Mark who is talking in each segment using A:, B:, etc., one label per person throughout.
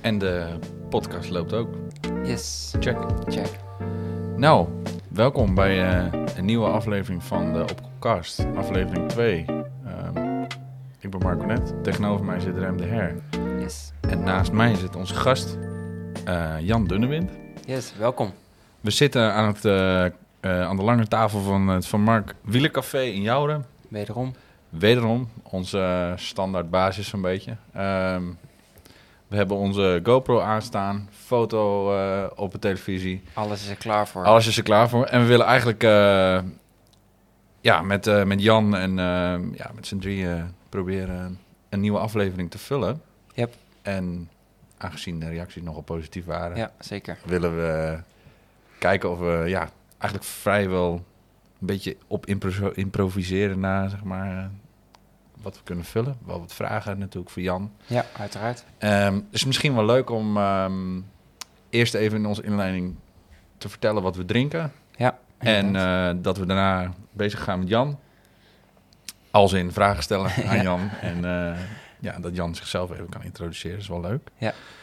A: En de podcast loopt ook.
B: Yes,
A: Check.
B: check.
A: Nou, welkom bij eh, een nieuwe aflevering van de Opcast. Aflevering 2. Ehm, ik ben Marco Net. Tegenover mij zit Rem de Her.
B: Yes,
A: En naast mij zit onze gast eh, Jan Dunnewind.
B: yes welkom.
A: We zitten aan, het, eh, eh, aan de lange tafel van het Van Mark Wielercafé in Jouren.
B: Wederom.
A: Wederom onze eh, standaard basis een beetje. Ehm, we hebben onze GoPro aanstaan, foto eh, op de televisie.
B: Alles is er klaar voor.
A: Alles is er klaar voor. En we willen eigenlijk eh, ja, met, eh, met Jan en eh, ja, met z'n drieën proberen een nieuwe aflevering te vullen.
B: Yep.
A: En aangezien de reacties nogal positief waren,
B: Ja, zeker.
A: willen we kijken of we ja, eigenlijk vrijwel een beetje op impro- improviseren na, zeg maar, eh, wat we kunnen vullen. Wel wat vragen natuurlijk voor Jan.
B: Ja, uiteraard.
A: Ehm, Het is misschien wel leuk om ehm, eerst even in onze inleiding te vertellen wat we drinken.
B: Ja.
A: En
B: inderdaad.
A: eh, dat we daarna bezig gaan met Jan. Als in vragen stellen aan Jan. En eh, ja, dat Jan zichzelf even kan introduceren is wel leuk.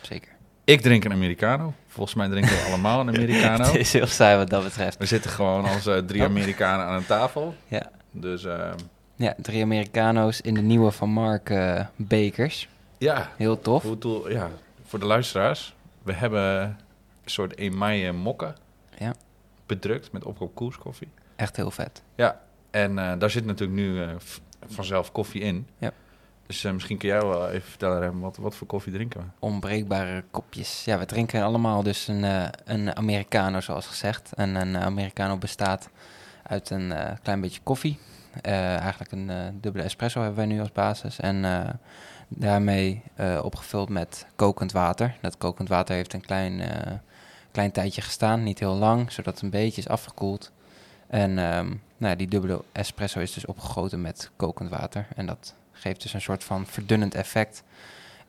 B: zeker.
A: Ik drink een Americano. Volgens mij drinken we allemaal een Americano.
B: Het is heel saai wat dat betreft.
A: We zitten gewoon als eh, drie
B: Oh.
A: Amerikanen aan een tafel.
B: Ja.
A: Dus eh,
B: Ja, drie Americano's in de nieuwe Van Mark eh, bekers.
A: ja.
B: Heel tof.
A: Hoe doel- ja, voor de luisteraars. We hebben een soort emaille mokken.
B: Ja.
A: Bedrukt met opkoop koerskoffie.
B: Echt heel vet.
A: En eh, daar zit natuurlijk nu eh, v- vanzelf koffie in.
B: Ja.
A: Dus eh, misschien kun jij wel even vertellen, Rem, wat, wat voor koffie drinken we?
B: Onbreekbare kopjes. Ja, we drinken allemaal dus een, eh, een Americano, zoals gezegd. En een eh, Americano bestaat uit een eh, klein beetje koffie. Eh, eigenlijk een eh, dubbele espresso hebben wij nu als basis. En eh, daarmee eh, opgevuld met kokend water. Dat kokend water heeft een klein, eh, klein tijdje gestaan, niet heel lang, zodat het een beetje is afgekoeld. En ehm, nou, ja, die dubbele espresso is dus opgegoten met kokend water. En dat geeft dus een soort van verdunnend effect.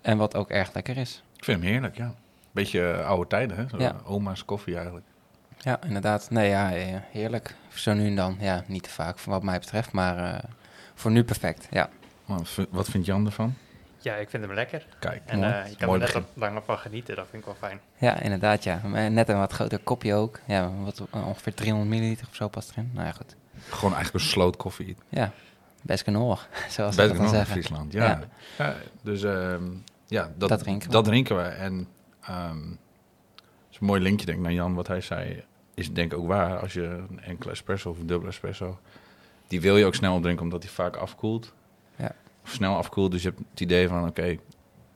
B: En wat ook erg lekker is.
A: Ik vind hem heerlijk, ja. Beetje eh, oude tijden, hè? Zo,
B: Ja.
A: Oma's koffie eigenlijk.
B: Ja, inderdaad. Nee, ja, eh, heerlijk. Zo nu en dan. Ja, niet te vaak wat mij betreft, maar eh, voor nu perfect. Ja,
A: Maar wat vind- wat vindt Jan ervan?
C: Ja, ik vind hem lekker.
A: Kijk,
C: En
B: Mooi.
C: eh, je kan
A: Mooi
C: er net
A: begin.
C: wat langer van genieten. Dat vind ik wel fijn.
B: ja inderdaad, ja. Maar Net een wat groter kopje ook. Ja, wat, eh, ongeveer 300 milliliter of zo past erin. Nou ja, goed.
A: gewoon eigenlijk een sloot koffie.
B: Ja, best knorrig, zoals ze
A: Bij
B: dat dan
A: in
B: zeggen.
A: Friesland, ja.
B: Ja.
A: Ja, dus ehm, ja, dat,
B: Dat drinken we.
A: dat drinken we. En ehm, het is een mooi linkje denk ik naar Jan, wat hij zei, is denk ik ook waar. Als je een enkele espresso of een dubbele espresso, die wil je ook snel drinken, omdat die vaak afkoelt.
B: Ja.
A: Of snel afkoelt, dus je hebt het idee van, oké,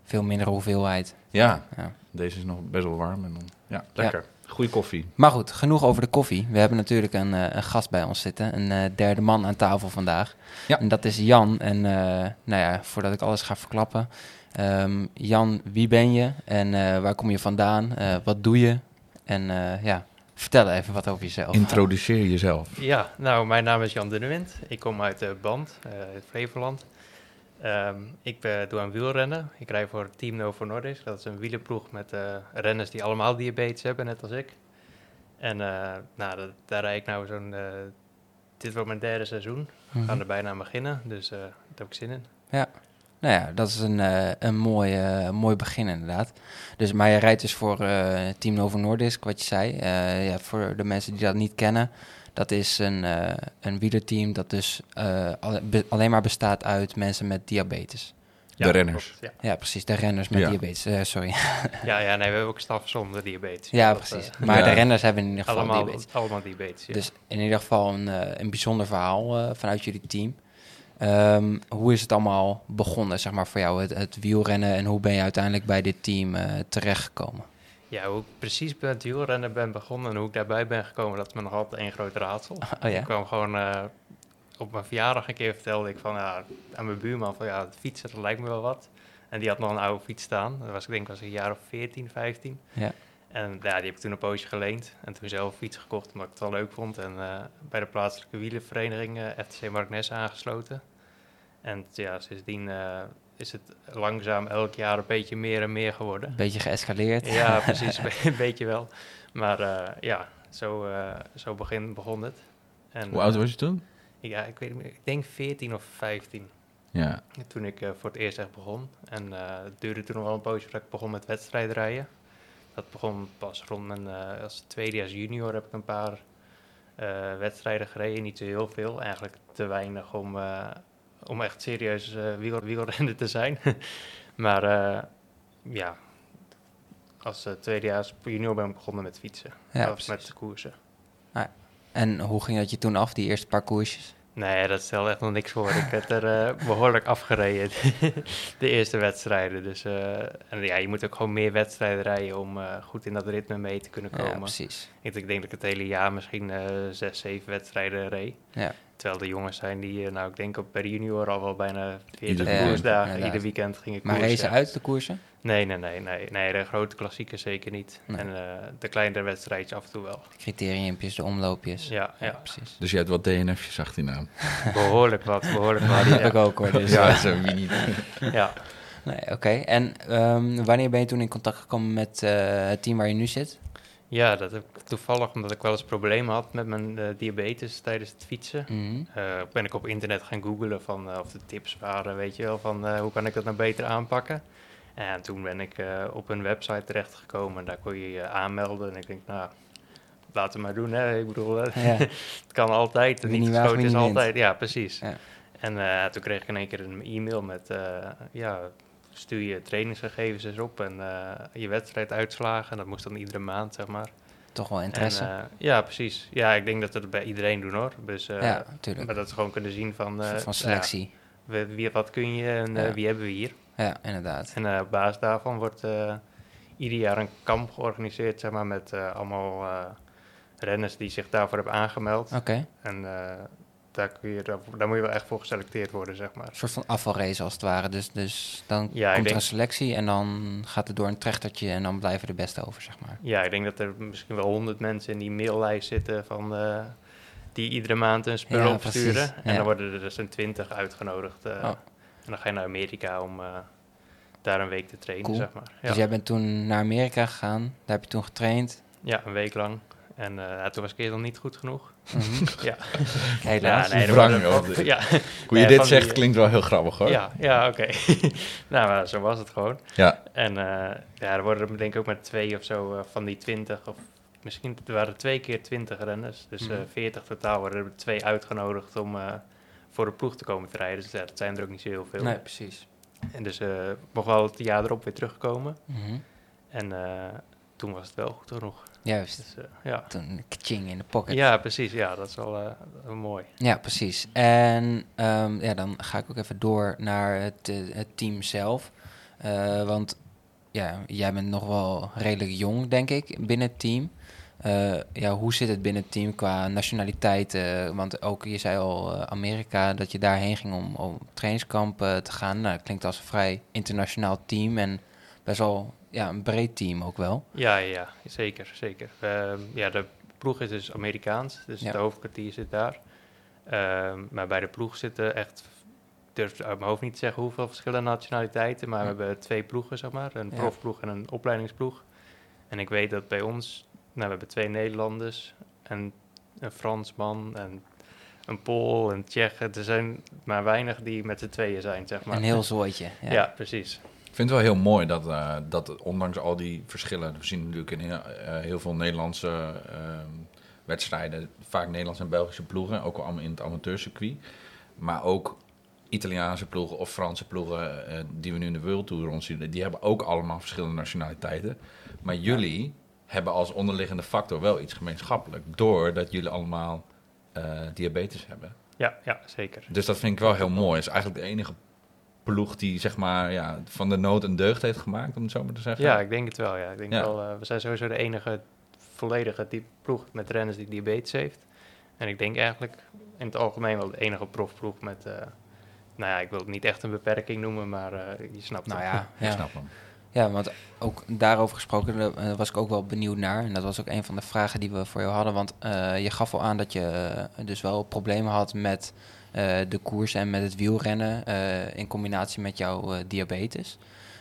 B: Veel minder hoeveelheid.
A: ja,
B: Ja.
A: deze is nog best wel warm. En dan, ja, lekker. Goeie koffie.
B: Maar goed, genoeg over de koffie. We hebben natuurlijk een, eh, een gast bij ons zitten. Een eh, derde man aan tafel vandaag.
A: Ja.
B: En dat is Jan. En eh, nou ja, voordat ik alles ga verklappen. ehm, Jan, wie ben je en eh, waar kom je vandaan? Eh, wat doe je? En eh, ja, vertel even wat over jezelf.
A: Introduceer jezelf.
C: Ja, nou, mijn naam is Jan Dunnewind. Ik kom uit eh, Band, eh, uit Flevoland. Ehm, ik eh, doe aan wielrennen. Ik rij voor Team Novo Nordisk. Dat is een wielenploeg met eh, renners die allemaal diabetes hebben, net als ik. En eh, nou, dat- daar rijd ik nou zo'n... eh, dit wordt mijn derde seizoen. We
B: Mhm.
C: gaan er bijna aan beginnen, dus eh, daar heb ik zin in.
B: Nou ja, dat is een, eh, een mooi, eh, mooi begin inderdaad. Dus, maar je rijdt dus voor eh, Team Novo Nordisk, wat je zei. Eh, ja, voor de mensen die dat niet kennen, dat is een, eh een wielerteam dat dus eh, alle- be- alleen maar bestaat uit mensen met diabetes.
A: De
C: dat
A: renners.
C: klopt, ja.
B: Ja, precies, de renners met
A: Ja.
B: diabetes, eh, sorry.
C: ja, ja, nee, we hebben ook staf zonder diabetes.
B: ja,
C: Dat, eh,
B: precies. Maar
A: Ja.
B: de renners hebben in ieder geval
C: allemaal,
B: diabetes.
C: allemaal diabetes, ja.
B: Dus in ieder geval een, eh, een bijzonder verhaal eh, vanuit jullie team. Ehm, hoe is het allemaal begonnen, zeg maar, voor jou, het, het wielrennen? En hoe ben je uiteindelijk bij dit team eh, terechtgekomen?
C: Ja, hoe ik precies bij het wielrennen ben begonnen en hoe ik daarbij ben gekomen, dat is me nog altijd één groot raadsel.
B: Oh ja?
C: Ik kwam gewoon eh, op mijn verjaardag een keer vertelde ik van, ja, aan mijn buurman van ja, het fietsen, dat lijkt me wel wat. En die had nog een oude fiets staan. Dat was, ik denk was ik een jaar of 14, 15.
B: Ja.
C: En ja, die heb ik toen een poosje geleend. En toen zelf een fiets gekocht, omdat ik het wel leuk vond. En eh, bij de plaatselijke wielenvereniging eh, FTC Marknes aangesloten. En ja, sindsdien eh, is het langzaam elk jaar een beetje meer en meer geworden.
B: Een beetje geëscaleerd.
C: Ja, precies, be- een beetje wel. Maar eh, ja, zo, eh, zo begin, begon het. En,
A: Hoe oud
C: eh,
A: was je toen?
C: Ja, ik weet niet meer. Ik denk 14 of 15.
A: Ja,
C: Toen ik eh, voor het eerst echt begon. En eh, het duurde toen nog wel een poosje voordat ik begon met wedstrijdrijden. Dat begon pas rond mijn... eh, als tweedejaars junior heb ik een paar eh, wedstrijden gereden. Niet zo heel veel. Eigenlijk te weinig om, eh, om echt serieus eh wiel, wielrenner te zijn. maar eh, ja... Als eh, tweedejaars junior ben ik begonnen met fietsen.
B: Ja,
C: of met koersen.
B: En hoe ging dat je toen af, die eerste paar koersjes?
C: Nee, dat stelde echt nog niks voor. Ik werd er eh, behoorlijk afgereden, de eerste wedstrijden. Dus eh, en ja, je moet ook gewoon meer wedstrijden rijden om eh, goed in dat ritme mee te kunnen
B: Ja,
C: komen.
B: precies.
C: ik, ik denk dat ik het hele jaar misschien eh, zes, zeven wedstrijden reed.
B: Ja.
C: Terwijl de jongens zijn die, eh, nou ik denk op bij de junior al wel bijna 40
A: Ieder
B: weekend,
C: koersdagen.
B: inderdaad.
C: Ieder weekend ging ik
B: Maar
C: koersen.
B: racen uit de koersen?
C: Nee, nee, nee, nee. Nee, de grote klassieken zeker niet.
B: Nee.
C: En eh, de kleinere wedstrijdjes af en toe wel.
B: De criteriumpjes, de omloopjes.
C: Ja, ja.
B: precies.
A: dus je hebt wat DNF'jes, zag die naam.
C: Behoorlijk wat, behoorlijk
B: Maar
C: wat.
B: die heb
C: ja.
B: ik ook hoor. Dus,
A: ja,
B: eh,
A: zo wie niet.
C: ja.
B: nee, Oké, en ehm, wanneer ben je toen in contact gekomen met eh, het team waar je nu zit?
C: Ja, dat heb ik toevallig omdat ik wel eens problemen had met mijn eh, diabetes tijdens het fietsen.
B: Mhm.
C: Eh, ben ik op internet gaan googlen van eh, of de tips waren, weet je wel, van eh, hoe kan ik dat nou beter aanpakken. En toen ben ik eh, op een website terechtgekomen en daar kon je je aanmelden. En ik denk, nou, laten we maar doen, hè. Ik bedoel, eh,
B: Ja.
C: het kan altijd.
B: Wie
C: Niet
B: niet waagt,
C: geschoten
B: wie
C: is
B: niet wint.
C: altijd. Ja, precies.
B: Ja.
C: En eh, toen kreeg ik in één keer een e-mail met, eh, ja, stuur je trainingsgegevens eens op en eh, je wedstrijduitslagen. En dat moest dan iedere maand, zeg maar.
B: Toch wel interesse.
C: En, eh, ja, precies. Ja, ik denk dat we dat bij iedereen doen hoor. Dus, eh,
B: ja, natuurlijk.
C: Maar dat ze gewoon kunnen zien van,
B: Een
C: eh,
B: soort van selectie.
C: ja, wie- wie, wat kun je en eh,
B: Ja.
C: wie hebben we hier.
B: Ja, inderdaad.
C: En eh, op basis daarvan wordt eh, ieder jaar een kamp georganiseerd, zeg maar, met eh, allemaal eh, renners die zich daarvoor hebben aangemeld.
B: Oké,
C: En eh, daar, kun je, daar, daar moet je wel echt voor geselecteerd worden, zeg maar.
B: een soort van afvalrace als het ware. Dus, dus dan
C: Ja, ik
B: komt er
C: denk-
B: een selectie en dan gaat het door een trechtertje en dan blijven de beste over, zeg maar.
C: Ja, ik denk dat er misschien wel honderd mensen in die maillijst zitten van, eh, die iedere maand een spul
B: Ja,
C: opsturen.
B: precies,
C: En
B: ja.
C: dan worden er dus een twintig uitgenodigd. eh,
B: Oh.
C: En dan ga je naar Amerika om eh, daar een week te trainen,
B: Cool.
C: zeg maar. Ja.
B: Dus jij bent toen naar Amerika gegaan, daar heb je toen getraind.
C: ja, een week lang. En eh, ja, toen was ik eerst nog niet goed genoeg. Mhm. Ja.
B: Helaas.
C: Ja, nee,
A: Wrang,
C: dat was-
A: joh, dit.
C: ja,
A: Hoe je
C: Nee,
A: dit
C: van
A: zegt
C: die-
A: klinkt wel heel grappig hoor.
C: ja, ja oké. nou, maar zo was het gewoon.
A: Ja.
C: En eh, ja, er worden er denk ik ook maar twee of zo eh, van die twintig. Of misschien er waren twee keer twintig renners. Dus
B: Mhm.
C: veertig totaal worden er twee uitgenodigd om eh, voor de ploeg te komen te rijden. Dus ja, dat zijn er ook niet zo heel veel.
B: Nee, precies.
C: En dus eh mocht wel het jaar erop weer terugkomen.
B: Mhm.
C: En eh, toen was het wel goed genoeg.
B: Juist.
C: Dus, eh, ja.
B: Toen kaching in de pocket.
C: ja, precies. Ja, dat is wel eh, wel mooi.
B: Ja, precies. En ehm, ja, dan ga ik ook even door naar het, eh, het team zelf. Eh, want ja, jij bent nog wel redelijk jong, denk ik, binnen het team. Eh, ja, hoe zit het binnen het team qua nationaliteit? eh, want ook, je zei al eh, Amerika, dat je daarheen ging om, om trainingskamp eh, te gaan. Nou, dat klinkt als een vrij internationaal team en best wel ja, een breed team ook wel.
C: Ja, ja, ja, zeker, zeker. Ehm, ja, de ploeg is dus Amerikaans, dus
B: Ja.
C: het hoofdkwartier zit daar. Ehm, maar bij de ploeg zitten echt, ik durf het uit mijn hoofd niet te zeggen hoeveel verschillende nationaliteiten, maar we
B: Hm.
C: hebben twee ploegen, zeg maar. Een
B: Ja.
C: profploeg en een opleidingsploeg. En ik weet dat bij ons, nou, we hebben twee Nederlanders en een Fransman en een Pool, een Tsjech. Er zijn maar weinig die met z'n tweeën zijn, zeg maar.
B: Een heel zooitje.
C: ja. precies.
A: Ik vind het wel heel mooi dat, eh, dat ondanks al die verschillen, we zien natuurlijk in heel, eh, heel veel Nederlandse ehm, wedstrijden, vaak Nederlandse en Belgische ploegen, ook al allemaal in het amateurcircuit, maar ook Italiaanse ploegen of Franse ploegen eh, die we nu in de World Tour rondzien, die hebben ook allemaal verschillende nationaliteiten. Maar jullie hebben als onderliggende factor wel iets gemeenschappelijk, doordat jullie allemaal eh, diabetes hebben.
C: Ja, ja, zeker.
A: Dus dat vind ik wel heel mooi. Het is eigenlijk de enige ploeg die zeg maar, ja, van de nood een deugd heeft gemaakt, om het zo maar te zeggen.
C: Ja, ik denk het wel. Ja. Ik denk
A: Ja.
C: wel eh, we zijn sowieso de enige volledige die ploeg met renners die diabetes heeft. En ik denk eigenlijk in het algemeen wel de enige profploeg met... eh, nou ja, ik wil het niet echt een beperking noemen, maar eh, je snapt
B: Nou
C: het.
B: ja,
A: Ik
B: ja.
A: snap hem.
B: Ja, want ook daarover gesproken eh, was ik ook wel benieuwd naar. En dat was ook een van de vragen die we voor jou hadden. Want eh, je gaf al aan dat je eh, dus wel problemen had met eh, de koers en met het wielrennen. eh, in combinatie met jouw eh, diabetes.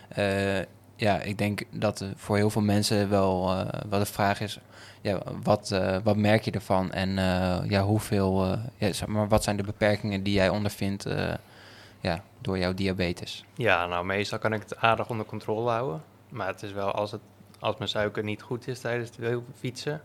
B: Eh, ja, ik denk dat eh, voor heel veel mensen wel eh wel de vraag is: ja, wat, eh, wat merk je ervan? En eh, ja, hoeveel, eh, ja, zeg maar, wat zijn de beperkingen die jij ondervindt eh, ja, door jouw diabetes.
C: Ja, nou meestal kan ik het aardig onder controle houden. Maar het is wel als, het, als mijn suiker niet goed is tijdens het wiel- fietsen,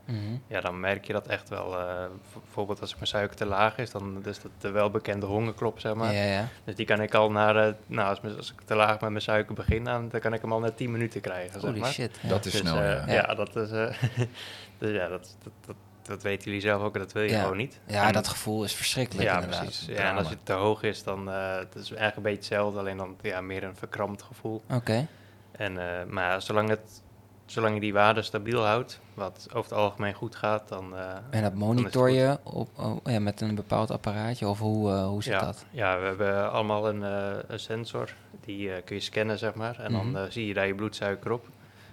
C: ja, dan merk je dat echt wel. eh, v- bijvoorbeeld als mijn suiker te laag is, dan is dat de welbekende hongerklop, zeg maar.
B: ja, ja.
C: Dus die kan ik al naar, eh, nou, als, mijn- als ik te laag met mijn suiker begin, aan, dan kan ik hem al na 10 minuten krijgen, zeg
B: Holy
C: maar.
B: shit. ja.
A: Dat is
C: Dus,
A: snel,
C: eh,
A: ja.
C: ja. dat is. eh, dus ja, dat, dat, dat, dat weten jullie zelf ook en dat wil je
B: Ja.
C: gewoon niet.
B: Ja,
C: En-
B: dat gevoel is verschrikkelijk
C: ja,
B: inderdaad.
C: precies. Ja, en
A: Drama.
C: als het te hoog is, dan eh het is eigenlijk een beetje hetzelfde, alleen dan ja, meer een verkrampt gevoel.
B: Oké,
C: En, eh, maar zolang, het, zolang je die waarde stabiel houdt, wat over het algemeen goed gaat, dan. eh,
B: en dat monitor je op, oh, ja, met een bepaald apparaatje of hoe, eh, hoe zit
C: ja,
B: dat?
C: Ja, we hebben allemaal een, eh, een sensor. Die eh, kun je scannen, zeg maar. En
B: Mhm.
C: dan eh, zie je daar je bloedsuiker op.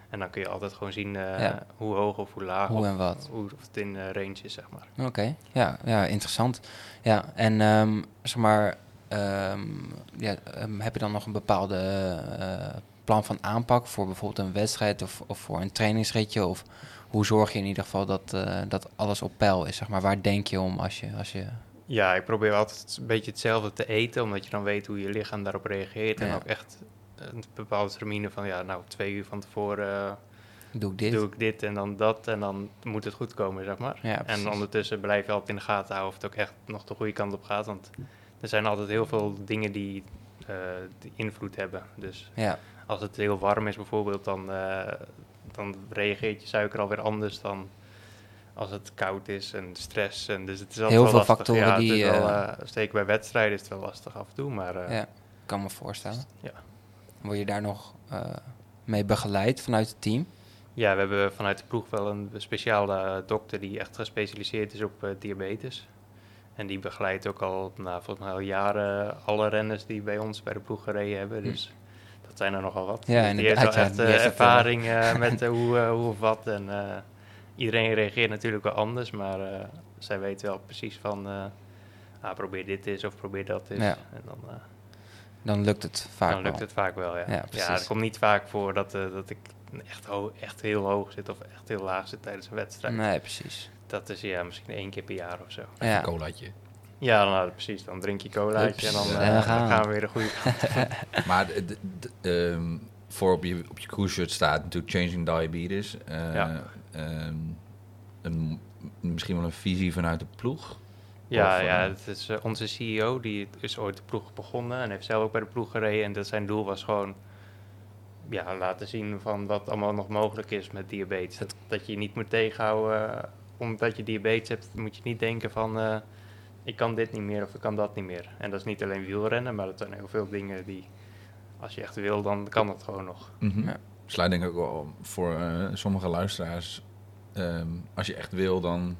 C: En dan kun je altijd gewoon zien eh,
B: Ja.
C: hoe hoog of hoe laag.
B: Hoe
C: of,
B: en wat?
C: hoe, of het in eh, range is, zeg maar.
B: Oké, ja, ja, interessant. Ja, en ehm, zeg maar, ehm, ja, ehm, heb je dan nog een bepaalde eh, plan van aanpak voor bijvoorbeeld een wedstrijd of, of voor een trainingsritje? Of hoe zorg je in ieder geval dat, eh, dat alles op peil is? Zeg maar, waar denk je om als je. Als je
C: Ja, ik probeer altijd een beetje hetzelfde te eten. Omdat je dan weet hoe je lichaam daarop reageert.
B: Ja.
C: En ook echt een bepaalde termine van... Ja, nou, twee uur van tevoren eh,
B: doe ik dit?
C: doe ik dit en dan dat. En dan moet het goed komen, zeg maar.
B: ja, precies.
C: En ondertussen blijf je altijd in de gaten houden of het ook echt nog de goede kant op gaat. Want er zijn altijd heel veel dingen die, eh, die invloed hebben. Dus
B: Ja,
C: als het heel warm is bijvoorbeeld, dan, eh, dan reageert je suiker alweer anders dan als het koud is en stress. En dus het is altijd
B: Heel
C: wel
B: veel
C: lastig.
B: factoren
C: ja,
B: die,
C: Het is wel,
B: eh,
C: eh, zeker bij wedstrijden is het wel lastig af en toe, maar eh,
B: ja, kan me voorstellen.
C: ja.
B: Word je daar nog eh, mee begeleid vanuit het team?
C: Ja, we hebben vanuit de ploeg wel een speciale eh, dokter die echt gespecialiseerd is op eh, diabetes. En die begeleidt ook al, nou, volgens mij al jaren alle renners die bij ons bij de ploeg gereden hebben.
B: Hm.
C: Dus dat zijn er nogal wat.
B: Ja,
C: Dus die heeft wel
B: inderdaad, ja,
C: echt
B: die
C: eh,
B: heeft dat, eh,
C: ervaring eh, met eh, hoe, eh, hoe of wat. En eh, iedereen reageert natuurlijk wel anders, maar eh, zij weten wel precies van... eh, ah, probeer dit eens of probeer dat eens.
B: Ja.
C: En dan, eh,
B: Dan lukt het vaak
C: dan lukt
B: wel.
C: het vaak wel, ja.
B: Ja,
C: Ja,
B: precies.
C: het komt niet vaak voor dat, eh, dat ik echt, ho- echt heel hoog zit of echt heel laag zit tijdens een wedstrijd.
B: Nee, precies.
C: Dat is ja, misschien één keer per jaar of zo.
A: Even
B: Ja.
A: een colaatje.
C: Ja, nou, precies. Dan drink je colaatje en dan,
B: Oeps,
C: eh,
B: en we
C: dan
B: gaan.
C: gaan. we weer de goede kant.
A: Maar d- d- d- ehm, voor op je, op je cruise shirt staat natuurlijk Changing Diabetes. Eh,
C: Ja.
A: ehm, een, misschien wel een visie vanuit de ploeg.
C: Ja,
A: Of, eh,
C: ja het is, eh, onze CEO die is ooit de ploeg begonnen en heeft zelf ook bij de ploeg gereden. En dat zijn doel was gewoon ja, laten zien van wat allemaal nog mogelijk is met diabetes. Dat, dat je je niet moet tegenhouden. eh, Omdat je diabetes hebt, moet je niet denken van eh, ik kan dit niet meer of ik kan dat niet meer. En dat is niet alleen wielrennen, maar dat zijn heel veel dingen die als je echt wil, dan kan dat gewoon nog.
A: Mhm.
B: Ja.
A: Sluit denk ik ook wel voor eh, sommige luisteraars. ehm, als je echt wil, dan,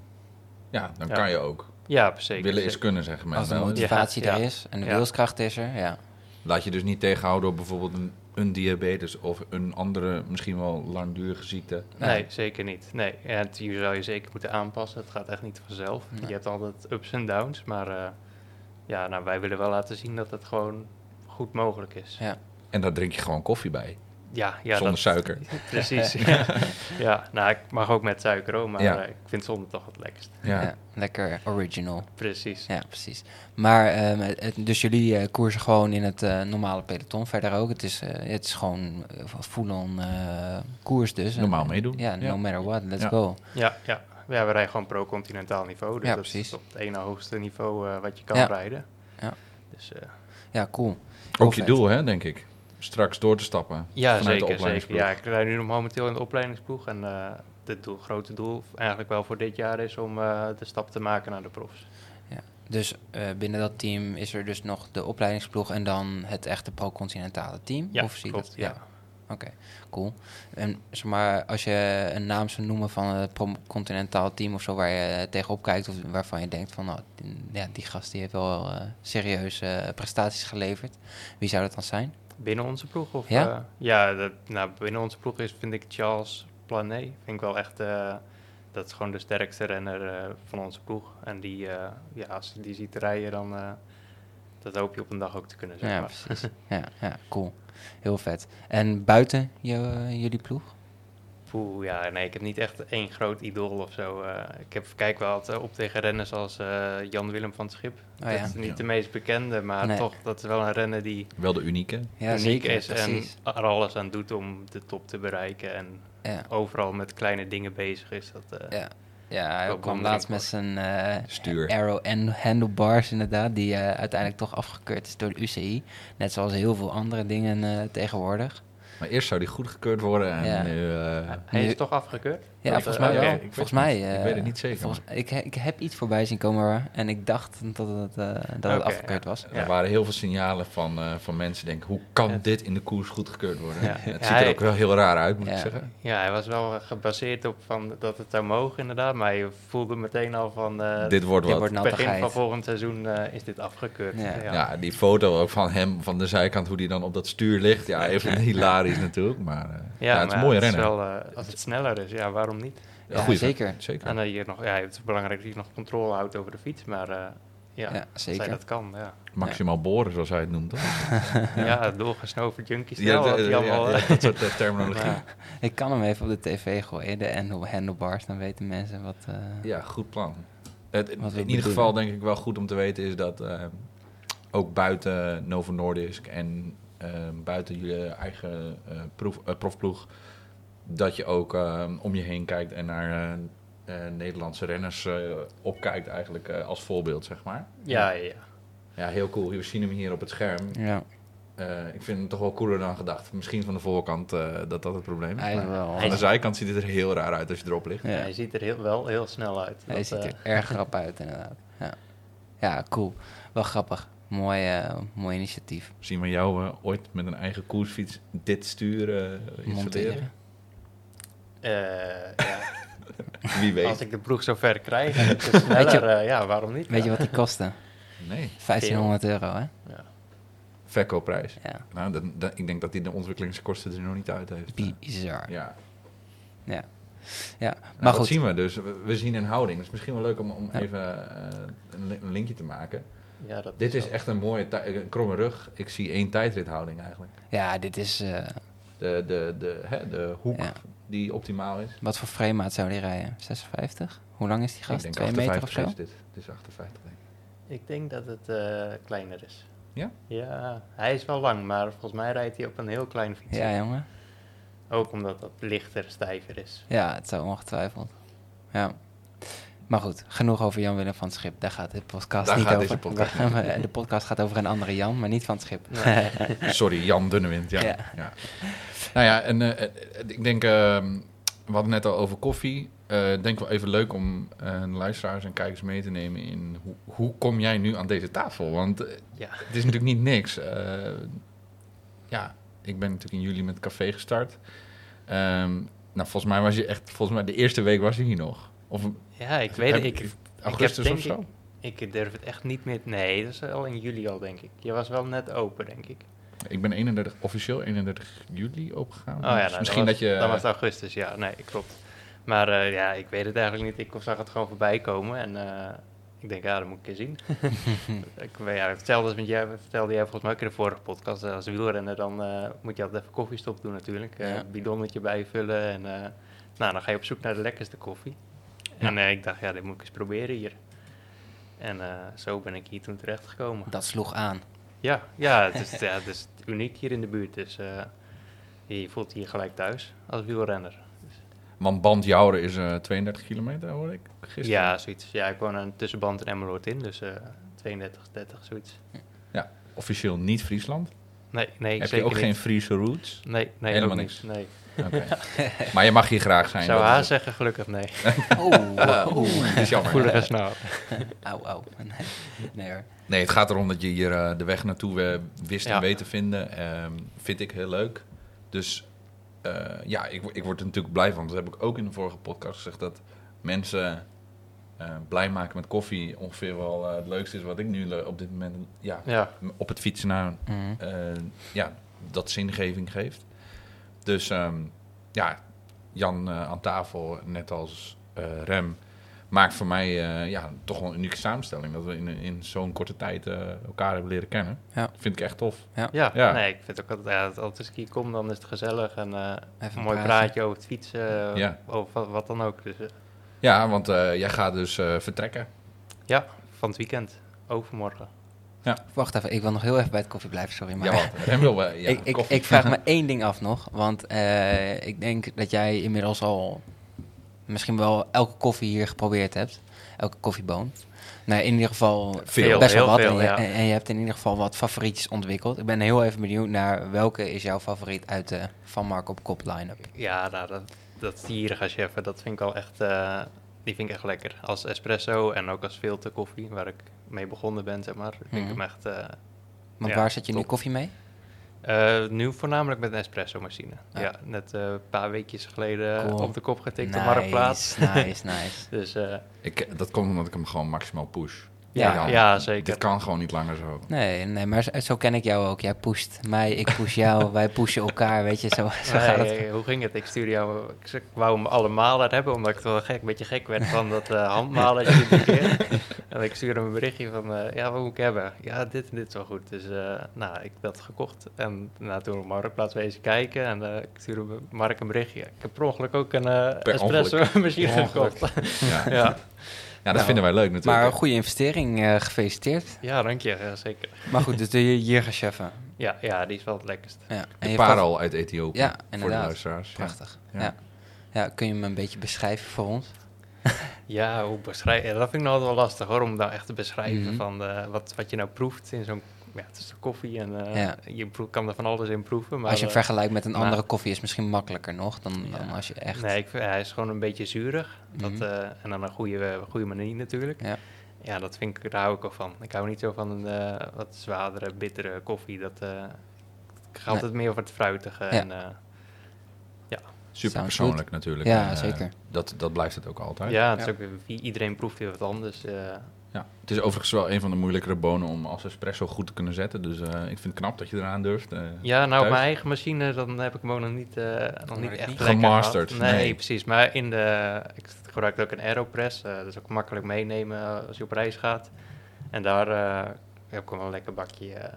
A: ja, dan
C: Ja.
A: kan je ook.
C: Ja, zeker.
A: Willen is
C: zeker.
A: kunnen, zeggen
B: Als
A: mensen
B: de
A: wel. eens.
C: moet-
B: motivatie
C: Ja,
B: er
C: ja.
B: is en de
C: Ja.
B: wilskracht is er, ja.
A: Laat je dus niet tegenhouden door bijvoorbeeld een, een diabetes of een andere, misschien wel langdurige ziekte.
C: Nee, zeker niet. Nee, en het- je zou je zeker moeten aanpassen. Het gaat echt niet vanzelf.
B: Nee.
C: Je hebt altijd ups en downs, maar eh, ja, nou, wij willen wel laten zien dat het gewoon goed mogelijk is.
B: Ja.
A: En daar drink je gewoon koffie bij,
C: Ja, ja
A: zonder
C: dat,
A: suiker.
C: precies. ja. ja, nou, ik mag ook met suiker, hoor, maar
A: Ja.
C: eh, ik vind zonder toch het lekkerst.
A: Ja.
B: Ja, lekker original.
C: Precies.
B: Ja, precies. Maar, ehm, het- dus jullie eh, koersen gewoon in het eh, normale peloton verder ook. Het is, eh, het is gewoon eh, full-on eh, koers dus. En-
A: Normaal meedoen.
B: Ja, no
A: Ja.
B: matter what, let's
A: Ja.
B: go.
C: Ja, ja. ja we rijden gewoon pro-continentaal niveau. Dus
B: Ja,
C: dat
B: precies.
C: is op het ene hoogste niveau eh, wat je kan
B: Ja.
C: rijden.
B: Ja.
C: Dus eh,
B: Ja, cool. Heel
A: Ook je
B: vet.
A: doel, hè, denk ik. Straks door te stappen.
C: Ja,
A: vanuit de
C: zeker, zeker.
A: opleidingsploeg.
C: Ja, ik rijd nu nog momenteel in de opleidingsploeg. En eh het doel, grote doel eigenlijk wel voor dit jaar is om eh, de stap te maken naar de profs.
B: Dus eh, binnen dat team is er dus nog de opleidingsploeg en dan het echte pro-continentale team?
C: Ja,
B: of zie je
C: klopt.
B: dat?
C: ja.
B: Oké, cool. En zeg maar, als je een naam zou noemen van een continentaal team of zo waar je tegenop kijkt of waarvan je denkt van, nou, die- ja, die gast die heeft wel eh, serieuze eh, prestaties geleverd. Wie zou dat dan zijn?
C: Binnen onze ploeg? Of,
B: Ja.
C: eh, ja, dat, nou, binnen onze ploeg is, vind ik Charles Planet. Vind ik wel echt, eh, dat is gewoon de sterkste renner eh, van onze ploeg. En die, eh, ja, als je die ziet rijden, dan eh, dat hoop je op een dag ook te kunnen, zeg
B: ja,
C: maar.
B: precies. ja, ja, cool. Heel vet. En buiten je, jullie eh, ploeg?
C: Poeh, ja, nee, ik heb niet echt één groot idool of zo. Eh, ik heb, kijk wel altijd op tegen renners als eh, Jan-Willem van het Schip.
B: Oh,
C: dat
B: ja.
C: is niet
A: Ja.
C: de meest bekende, maar
B: Nee.
C: toch, dat is wel een renner die
A: Wel de unieke.
B: Ja,
C: uniek
B: zeker.
C: is
B: precies.
C: en er alles aan doet om de top te bereiken. En
B: Ja.
C: overal met kleine dingen bezig is. Dat, eh,
B: Ja. Ja, hij
C: Ook
B: kwam
C: wel
B: laatst met zijn eh,
A: Stuur.
B: arrow en handlebars inderdaad, die eh, uiteindelijk toch afgekeurd is door de UCI. Net zoals heel veel andere dingen eh, tegenwoordig.
A: Maar eerst zou die goedgekeurd worden en
B: Ja.
A: nu... eh,
C: Hij
B: Nu-
C: is toch afgekeurd?
B: Ja,
A: Dat,
B: volgens
A: eh,
B: mij
A: oké,
B: wel.
A: ik weet
B: volgens
A: het
B: mij,
A: niet. Ik
B: eh,
A: weet het niet zeker,
B: volgens- ik, he- ik heb iets voorbij zien komen waar- en ik dacht dat het, eh, dat het
C: Oké,
B: afgekeurd
C: ja.
B: was.
A: Er waren heel veel signalen van, eh, van mensen denken... hoe kan
C: Ja.
A: dit in de koers goedgekeurd worden?
C: Ja.
A: Het
C: Ja,
A: ziet er
C: hij-
A: ook wel heel raar uit, moet
B: Ja.
A: ik zeggen.
C: Ja, hij was wel eh, gebaseerd op van dat het zou mogen inderdaad. Maar je voelde meteen al van... eh,
A: dit wordt
B: dit
A: wat.
B: wordt-
C: begin
B: nattigheid.
C: van volgend seizoen eh, is dit afgekeurd.
B: Ja.
A: ja. die foto ook van hem van de zijkant, hoe die dan op dat stuur ligt. Ja, even hilarisch natuurlijk, maar eh, ja, het is
C: maar
A: een mooie
C: het is
A: rennen.
C: wel, eh, als het sneller is, ja, waarom niet?
A: Ja,
B: Ja,
A: goeie
B: zeker.
A: vent, zeker.
C: En eh, dat je nog, ja, het is belangrijk dat je nog controle houdt over de fiets, maar eh, ja,
B: Ja,
C: als hij
B: zeker.
C: dat kan, ja.
A: Maximaal boren, zoals hij het noemt. toch?
C: ja, doorgesnoven junkies,
A: Ja,
C: ja,
A: d-
C: dat
A: ja,
C: allemaal.
A: ja,
C: eh,
A: dat soort eh, terminologie.
C: maar,
B: Ik kan hem even op de tv gooien, de handle- handlebars, dan weten mensen wat... eh,
A: Ja, goed plan. Het, in
B: Wat we
A: ieder
B: bedoelen.
A: geval denk ik wel goed om te weten is dat eh, ook buiten Novo Nordisk en eh, buiten je eigen eh, proef, eh, profploeg, dat je ook eh, om je heen kijkt en naar eh, eh, Nederlandse renners eh, opkijkt eigenlijk eh, als voorbeeld, zeg maar.
C: ja, ja.
A: Ja, heel cool. We zien hem hier op het scherm.
B: ja,
A: Eh, ik vind hem toch wel cooler dan gedacht. Misschien van de voorkant eh, dat dat het probleem is.
B: hij is
A: maar
B: wel...
A: Aan de zijkant ziet het er heel raar uit als je erop ligt.
B: Ja.
C: Hij ziet er heel, wel heel snel uit.
B: Hij
C: Dat,
B: ziet
C: eh,
B: er erg grappig uit, inderdaad. Ja. ja, cool. Wel grappig. Mooi, eh, mooi initiatief.
A: Zien we jou eh, ooit met een eigen koersfiets dit stuur eh, installeren?
B: Monteren.
C: eh, ja,
A: Wie weet.
C: als ik de ploeg zover krijg, en het is sneller,
B: je-
C: eh, ja, waarom niet?
B: Weet je
C: ja.
B: wat die kostte?
A: Nee,
B: 1500 euro, hè?
C: Ja.
A: verkoopprijs.
B: Ja.
A: Nou, dan, dan- ik denk dat die de ontwikkelingskosten er nog niet uit heeft.
B: Bizar. Ja.
A: Ja,
B: Ja.
A: Nou,
B: Maar
A: dat
B: goed.
A: zien we dus. We, we zien een houding. Het is misschien wel leuk om, om
B: Ja.
A: even eh, een, li- een linkje te maken.
C: Ja, dat
A: Dit is
C: wel-
A: echt een mooie tij- een kromme rug. Ik zie één tijdrithouding eigenlijk.
B: Ja, dit is... eh,
A: De, de, de, hè, de hoek
B: Ja.
A: die optimaal is.
B: wat voor framemaat zou die rijden? 56? Hoe lang is die
A: Ik
B: gast?
A: denk
B: 2 meter of
A: 58
B: zo?
A: is dit. Dit is 58 denk ik.
C: Ik denk dat het eh, kleiner is.
A: Ja?
C: Ja, hij is wel lang, maar volgens mij rijdt hij op een heel klein fiets.
B: Ja, jongen.
C: Ook omdat dat lichter, stijver is.
B: Ja, het zou ongetwijfeld. Ja. Maar goed, genoeg over Jan Willem van het Schip. Daar gaat de podcast
A: Daar
B: niet
A: gaat
B: over.
A: deze podcast
B: Daar gaan we- de podcast gaat over een andere Jan, maar niet van het Schip.
A: Sorry, Jan Dunnewind. Ja.
B: Ja.
A: Ja. Nou ja, en eh, eh, ik denk, ehm, we hadden net al over koffie. Eh, Ik denk wel even leuk om eh, luisteraars en kijkers mee te nemen in hoe, hoe kom jij nu aan deze tafel? Want eh,
C: Ja.
A: het is natuurlijk niet niks. Eh, ja, ik ben natuurlijk in juli met het café gestart. Ehm, nou, volgens mij was je echt, volgens mij de eerste week was je hier nog. Of
C: Ja, ik weet
A: heb-
C: het. Ik,
A: augustus
C: denk
A: of zo?
C: ik durf het echt niet meer... Nee, dat is al in juli al, denk ik. Je was wel net open, denk ik.
A: Ik ben 31, officieel 31 juli opgegaan.
C: Oh ja, nou,
A: Dus
C: dan
A: misschien
C: was-
A: dat je...
C: Dan was het augustus, ja. Nee, klopt. Maar eh, ja, ik weet het eigenlijk niet. Ik zag het gewoon voorbij komen en eh, ik denk, ja, dat moet ik eens zien. ik, weet- ja, hetzelfde als met jij, vertelde jij volgens mij ook in de vorige podcast. eh, Als wielrenner, dan eh, moet je altijd even koffiestop doen natuurlijk. Eh,
B: Ja.
C: bidonnetje bijvullen en eh, nou, dan ga je op zoek naar de lekkerste koffie. En eh, ik dacht, ja, dit moet ik eens proberen hier. En eh, zo ben ik hier toen terechtgekomen.
B: Dat sloeg aan.
C: Ja, ja, het is, ja, het is uniek hier in de buurt. Dus eh, je voelt je hier gelijk thuis als wielrenner.
A: Want Band Jouren is eh, 32 kilometer, hoor ik gisteren.
C: Ja, zoiets. Ja, ik woon aan tussenband in Emmeloord in, dus eh 32, 30, zoiets.
A: Officieel niet Friesland.
C: Nee, nee,
A: Heb je
C: zeker
A: ook geen
C: niet.
A: Friese roots?
C: Nee, nee,
A: Helemaal
C: ook
A: niks?
C: niet. Nee.
A: Oké. maar je mag hier graag
C: Ik
A: zijn.
C: zou
A: dat
C: haar
A: is het.
C: zeggen, gelukkig nee.
B: Oh,
A: Dat is jammer.
C: Voelig en snel.
B: Au, au. Nee, nee hoor.
A: Nee, het gaat erom dat je hier eh, de weg naartoe eh, wist
C: Ja.
A: en weet te vinden. Ehm, vind ik heel leuk. Dus eh, ja, ik, wo- ik word er natuurlijk blij van. Dat heb ik ook in de vorige podcast gezegd. Dat mensen eh, blij maken met koffie ongeveer wel eh, het leukste is wat ik nu le- op dit moment ja,
C: Ja,
A: op het fietsen naar
B: Mhm.
A: eh, ja, dat zingeving geeft. Dus ehm, ja, Jan eh, aan tafel, net als eh, Rem. maakt voor mij eh, ja, toch wel een unieke samenstelling. Dat we in, in zo'n korte tijd eh, elkaar hebben leren kennen.
B: Ja.
A: Vind ik echt tof.
C: Ja,
A: Ja.
C: Nee, ik vind ook altijd, ja, als- als de ski komt, dan is het gezellig en eh,
B: Even
C: een mooi
B: praten.
C: praatje over het fietsen, eh,
A: Ja.
C: over wat- wat dan ook. Dus, eh,
A: Ja, want eh, jij gaat dus eh, vertrekken.
C: ja, van het weekend, overmorgen.
B: Wacht even, ik wil nog heel even bij het koffie blijven, sorry. Maar
A: Ja, want Rem wil wel- ja,
B: ik, ik,
A: koffie.
B: ik vraag me één ding af nog. Want eh, ik denk dat jij inmiddels al misschien wel elke koffie hier geprobeerd hebt. Elke koffieboon. Nou, in ieder geval
A: Veel,
B: best wel
C: heel
B: wat.
C: veel,
B: en, je,
C: ja.
B: en- en je hebt in ieder geval wat favorietjes ontwikkeld. Ik ben heel even benieuwd naar welke is jouw favoriet uit de Van Mark op Kop line-up.
C: Ja, nou, dat, dat stierige cheffen, dat vind ik al echt, eh, die vind ik echt lekker. Als espresso en ook als filterkoffie, waar ik mee begonnen ben, zeg maar. Vind ik
B: Mhm.
C: hem echt, eh,
B: Want
C: Ja,
B: waar zet je nu
C: top.
B: koffie mee?
C: eh, nu voornamelijk met een espresso machine.
B: Ja.
C: Ja, net eh, een paar weekjes geleden
B: Cool.
C: op de kop getikt op Marktplaats.
B: nice, nice, nice.
C: Dus eh,
A: Ik- dat komt omdat ik hem gewoon maximaal push.
B: Ja,
C: ja,
A: Jan,
C: zeker.
A: Dit kan gewoon niet langer zo.
B: Nee, nee, maar zo- zo ken ik jou ook. Jij pusht mij, ik push jou, wij pushen elkaar, weet je, zo, zo gaat
C: Nee,
B: het.
C: eh, hoe ging het? Ik stuurde jou, ik z- ik wou hem allemaal er hebben, omdat ik het wel gek, een beetje gek werd van dat eh handmalen. en ik stuurde hem een berichtje van, eh, ja, wat moet ik hebben? Ja, dit en dit is wel goed. Dus eh, nou, ik heb dat gekocht. En nou, toen op Marktplaats wezen kijken en eh, ik stuurde me- Mark een berichtje. Ik heb per ongeluk ook een eh,
A: Per
C: espresso machine
A: Per ongeluk.
C: gekocht.
A: Ja, ja
C: ja.
A: dat
B: Nou,
A: vinden wij leuk natuurlijk.
B: Maar een goede investering, eh, gefeliciteerd.
C: ja, dank je, ja, zeker.
B: Maar goed, dus de Jirgescheffen.
C: Ja, ja, die is wel het lekkerst.
B: Ja, en
A: de
B: je
A: parel uit Ethiopië.
B: Ja,
A: Voor de
B: inderdaad.
A: luisteraars.
B: valt-
A: ja.
B: Prachtig. Ja.
A: Ja.
B: Ja. kun je hem een beetje beschrijven voor ons?
C: Ja, hoe beschrijven? Dat vind ik nou altijd wel lastig hoor, om nou echt te beschrijven
B: Mhm.
C: van eh, wat, wat je nou proeft in zo'n... Ja, het is de koffie en eh,
B: Ja.
C: je proe- kan er van alles in proeven. Maar
B: als je hem
C: eh,
B: vergelijkt met een
C: nou-
B: andere koffie is het misschien makkelijker nog dan, dan
C: Ja.
B: als je echt...
C: Nee, ik vind- hij is gewoon een beetje zuurig. Dat,
B: Mhm.
C: eh, en dan een goede, eh, goede manier natuurlijk.
B: Ja.
C: Ja, dat vind ik, daar hou ik wel van. Ik hou niet zo van een eh, wat zwaardere, bittere koffie. Dat, eh ik ga
B: Nee.
C: altijd meer voor het fruitige.
B: Ja.
C: En, eh,
A: Super
B: Sounds
A: persoonlijk natuurlijk.
B: Ja,
A: eh,
B: zeker.
A: Dat, dat blijft het ook altijd.
C: ja, het is
B: Ja.
C: ook weer- wie- iedereen proeft weer wat anders. eh.
A: Ja. Het is overigens wel een van de moeilijkere bonen om als espresso goed te kunnen zetten. Dus eh, ik vind het knap dat je eraan durft. eh.
C: Ja, nou, op
A: Thuis?
C: mijn eigen machine, dan heb ik hem ook nog niet, eh, nog niet
B: ik
C: echt
B: niet
C: lekker gehad.
A: gemasterd,
C: Nee,
A: nee.
C: precies. Maar in de, ik gebruik ook een Aeropress. eh, dat is ook makkelijk meenemen eh, als je op reis gaat. En daar eh, heb ik wel een lekker bakje eh,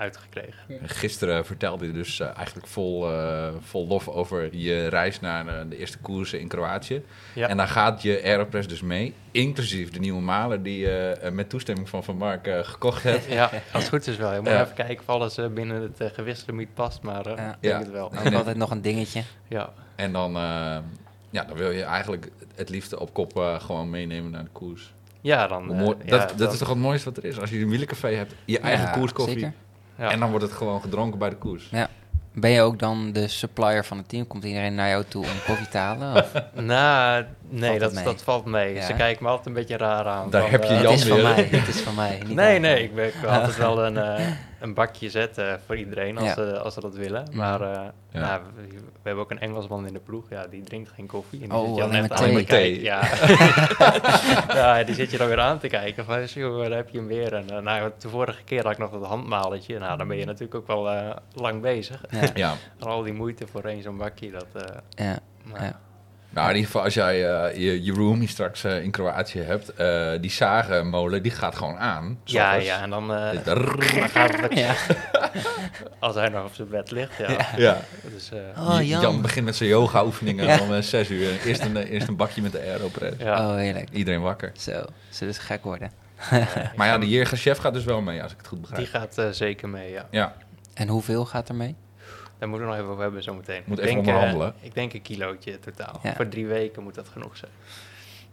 C: uitgekregen.
A: Gisteren vertelde je dus eh, eigenlijk vol, eh, vol lof over je reis naar eh, de eerste koersen in Kroatië.
C: Ja.
A: En daar gaat je Aeropress dus mee, inclusief de nieuwe malen die je eh, met toestemming van Van Mark eh, gekocht hebt.
C: Ja, als het goed is wel. Je moet
A: Ja.
C: even kijken of alles eh, binnen het eh, gewichtslimiet past, maar eh, ik
B: Ja.
C: denk
A: Ja.
C: het wel.
A: Ja.
B: Ook altijd nog een dingetje.
C: Ja,
A: En dan, eh, ja, dan wil je eigenlijk het liefste op kop eh, gewoon meenemen naar de koers.
C: ja dan...
A: Hoe
C: eh,
A: mooi-
C: ja,
A: dat dat
C: dan-
A: is toch het mooiste wat er is? Als je een wielencafé hebt, je eigen
B: Ja,
A: koerskoffie.
B: zeker.
C: ja.
A: En dan wordt het gewoon gedronken bij de koers.
B: Ben je ook dan de supplier van het team? Komt iedereen naar jou toe om koffie te halen? Of?
C: Nou, nee,
B: Valt het
C: dat,
B: mee?
C: dat valt mee.
B: Ja.
C: Ze kijken me altijd een beetje raar aan.
A: Daar
C: van,
A: heb je
C: eh,
B: Het is van
A: weer.
B: mij, het is van mij. niet
C: Nee,
B: van-
C: nee, ik ben ik wil altijd wel een, eh, een bakje zetten voor iedereen als,
B: Ja.
C: ze, als ze dat willen. Maar eh,
A: Ja.
C: nou, we, we hebben ook een Engelsman in de ploeg, ja, die drinkt geen koffie. En die
B: Oh,
C: zit je dan
B: alleen
C: echt
B: maar
C: aan te
B: thee.
C: kijken. Ja. ja, die zit je dan weer aan te kijken van, joh, daar heb je hem weer. En eh, nou, de vorige keer had ik nog dat handmaletje. Nou, dan ben je natuurlijk ook wel eh, lang bezig.
B: Ja,
A: Ja,
C: En al die moeite voor één zo'n bakje, dat... eh,
B: ja.
C: maar-
B: Ja.
A: nou in ieder geval als jij eh, je, je roomie straks eh, in Kroatië hebt, eh, die zagenmolen die gaat gewoon aan.
C: ja,
A: s'ochtends.
C: ja, en dan, eh,
A: Dit- rrrr.
C: dan gaat het,
B: Ja.
C: als hij nog op zijn bed ligt, ja.
A: Ja.
C: Dus, eh,
B: Oh,
A: J-
B: Jan.
A: Jan begint met zijn yoga oefeningen
B: Ja.
A: om eh, zes uur. Eerst een, eh, eerst een bakje met de aeropress.
C: ja.
B: Oh, heerlijk.
A: Iedereen wakker.
B: Zo, zullen ze gek worden.
A: Maar ja, de Jirga chef gaat dus wel mee, als ik het goed
C: Die
A: begrijp.
C: gaat eh, zeker mee, ja.
A: Ja,
B: En hoeveel gaat er mee?
C: Daar moeten we nog even over hebben zometeen.
A: Moet
C: Ik
A: even
C: denk,
A: onderhandelen.
C: eh, ik denk een kilootje totaal.
B: Ja.
C: Voor drie weken moet dat genoeg zijn.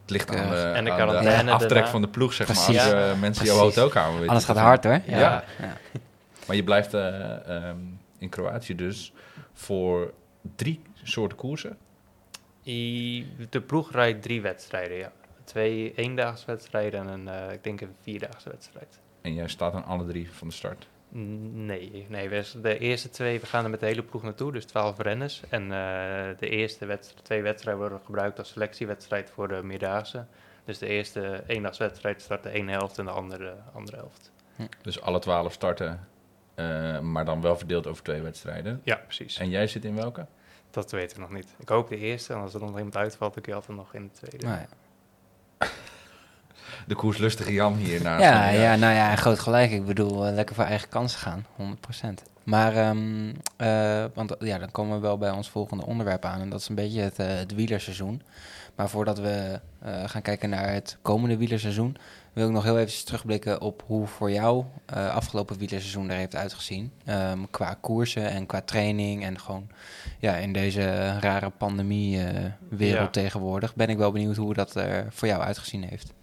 A: het ligt aan
B: Keurig.
A: de,
C: En de
A: aan de
C: quarantaine
A: aftrek
C: daarna.
A: van de ploeg, zeg maar. Als
B: Precies.
A: eh, mensen jouw
B: Precies.
A: hotelkamer weten.
B: Alles gaat
A: te
B: hard hoor.
A: Ja.
C: Ja.
B: Ja.
A: vinden. Maar je blijft eh, ehm, in Kroatië dus voor drie soorten koersen.
C: I- De ploeg rijdt drie wedstrijden, ja. Twee eendagswedstrijden en een, eh, ik denk een vierdaagse wedstrijd.
A: En jij staat aan alle drie van de start.
C: N- Nee, nee we- de eerste twee, we gaan er met de hele ploeg naartoe, dus twaalf renners. En eh, de eerste wedst- twee wedstrijden worden gebruikt als selectiewedstrijd voor de meerdaagse. Dus de eerste eendagswedstrijd start de ene helft en de andere, andere helft.
A: Dus alle twaalf starten, eh, maar dan wel verdeeld over twee wedstrijden.
C: Ja, precies.
A: En jij zit in welke?
C: Dat weten we nog niet. Ik hoop de eerste, en als er nog iemand uitvalt, dan kun je altijd nog in de tweede.
B: Nou ja.
A: De koerslustige Jan hier naast
B: Ja,
A: me,
B: ja, nou ja, groot gelijk. Ik bedoel, eh, lekker voor eigen kansen gaan, 100%. Maar, ehm, eh, want ja, dan komen we wel bij ons volgende onderwerp aan. En dat is een beetje het, eh, het wielerseizoen. Maar voordat we eh, gaan kijken naar het komende wielerseizoen, wil ik nog heel even terugblikken op hoe voor jou eh afgelopen wielerseizoen er heeft uitgezien. Ehm, qua koersen en qua training en gewoon ja, in deze rare pandemie-wereld
C: Ja.
B: tegenwoordig. Ben ik wel benieuwd hoe dat er voor jou uitgezien heeft.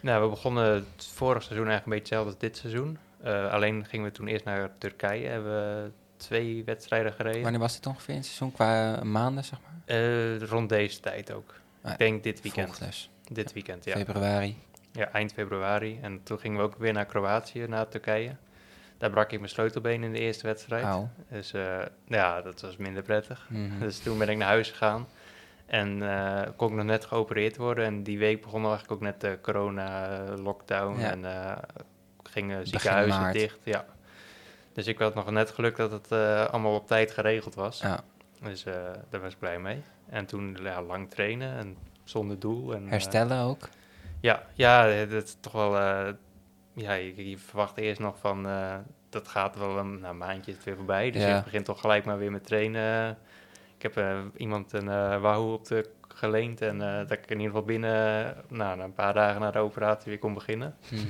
C: Nou, we begonnen het vorig seizoen eigenlijk een beetje hetzelfde als dit seizoen. Eh, alleen gingen we toen eerst naar Turkije. Hebben we twee wedstrijden gereden.
B: Wanneer was dit ongeveer in het seizoen? Qua maanden, zeg maar?
C: Eh, rond deze tijd ook.
B: ja,
C: Ik denk dit weekend.
B: Volgend dus.
C: Dit weekend, ja.
B: Februari.
C: ja. Eind februari. En toen gingen we ook weer naar Kroatië, naar Turkije. Daar brak ik mijn sleutelbeen in de eerste wedstrijd.
B: Au.
C: Dus eh, nou ja, dat was minder prettig.
B: Mhm.
C: Dus toen ben ik naar huis gegaan. En eh, kon ik nog net geopereerd worden. En die week begon eigenlijk ook net de corona-lockdown.
B: Ja.
C: En eh, gingen
B: Begin
C: ziekenhuizen
B: maart.
C: dicht. Ja. Dus ik had nog net geluk dat het eh, allemaal op tijd geregeld was.
B: Ja,
C: Dus eh, daar was ik blij mee. En toen ja, lang trainen en zonder doel. En, eh,
B: herstellen ook.
C: ja, ja, het is toch wel. eh, ja, je, je verwacht eerst nog van. eh, dat gaat wel een nou, maandje is het weer voorbij. Dus
B: Ja.
C: je begint toch gelijk maar weer met trainen. Ik heb eh, iemand een eh Wahoo op de geleend. En eh, dat ik in ieder geval binnen eh, nou, na een paar dagen na de operatie weer kon beginnen.
B: Mhm.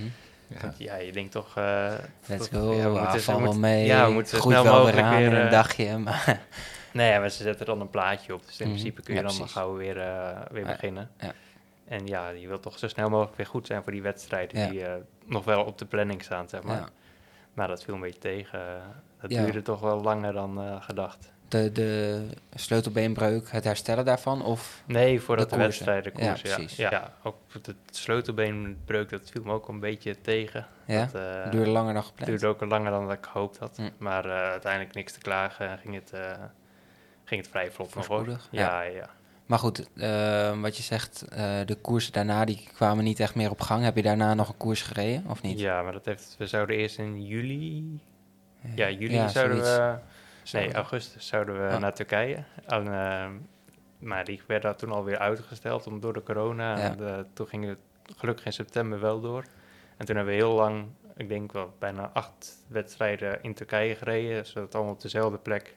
A: Ja.
C: Want ja, je denkt toch. eh,
B: Let's
C: dat-
B: go,
C: ja, we moeten-
B: ah,
C: we
B: val wel
C: moeten-
B: mee.
C: Ja, we moeten zo
B: Groeit
C: snel
B: wel weer
C: mogelijk
B: aan
C: weer.
B: in een
C: eh,
B: dagje, maar
C: Nee, maar ze zetten dan een plaatje op. Dus in
B: Mhm.
C: principe kun
B: Ja,
C: je dan maar
B: precies.
C: gauw weer, eh, weer
B: Ja,
C: beginnen.
B: ja.
C: En ja, je wilt toch zo snel mogelijk weer goed zijn voor die wedstrijden
B: Ja.
C: die eh, nog wel op de planning staan, zeg maar.
B: ja.
C: Maar dat viel een beetje tegen. Eh, Dat
B: Ja.
C: duurde toch wel langer dan eh, gedacht.
B: de, de sleutelbeenbreuk, het herstellen daarvan of...
C: Nee, voordat
B: De
C: de,
B: koersen.
C: wedstrijden
B: Ja,
C: koers. Ja,
B: precies.
C: ja. ook het sleutelbeenbreuk, dat viel me ook een beetje tegen.
B: Ja,
C: Dat, eh,
B: duurde langer dan gepland.
C: duurde ook langer dan dat ik gehoopt had.
B: Mm.
C: Maar eh, uiteindelijk niks te klagen en ging het, eh, ging het vrij vlot nog hoor.
B: Voorspoedig,
C: Ja, ja.
B: Maar goed, eh, wat je zegt, eh, de koersen daarna die kwamen niet echt meer op gang. Heb je daarna nog een koers gereden of niet?
C: Ja, maar dat heeft, we zouden eerst in juli. Ja, juli
B: Ja,
C: zouden
B: zoiets.
C: we.
B: Zouden
C: Nee,
B: we-
C: augustus zouden we
B: Ah.
C: naar Turkije. En, eh, maar die werd daar toen alweer uitgesteld om door de corona.
B: Ja.
C: En, eh, toen ging het gelukkig in september wel door. En toen hebben we heel lang, ik denk wel bijna acht wedstrijden in Turkije gereden. Zodat allemaal op dezelfde plek,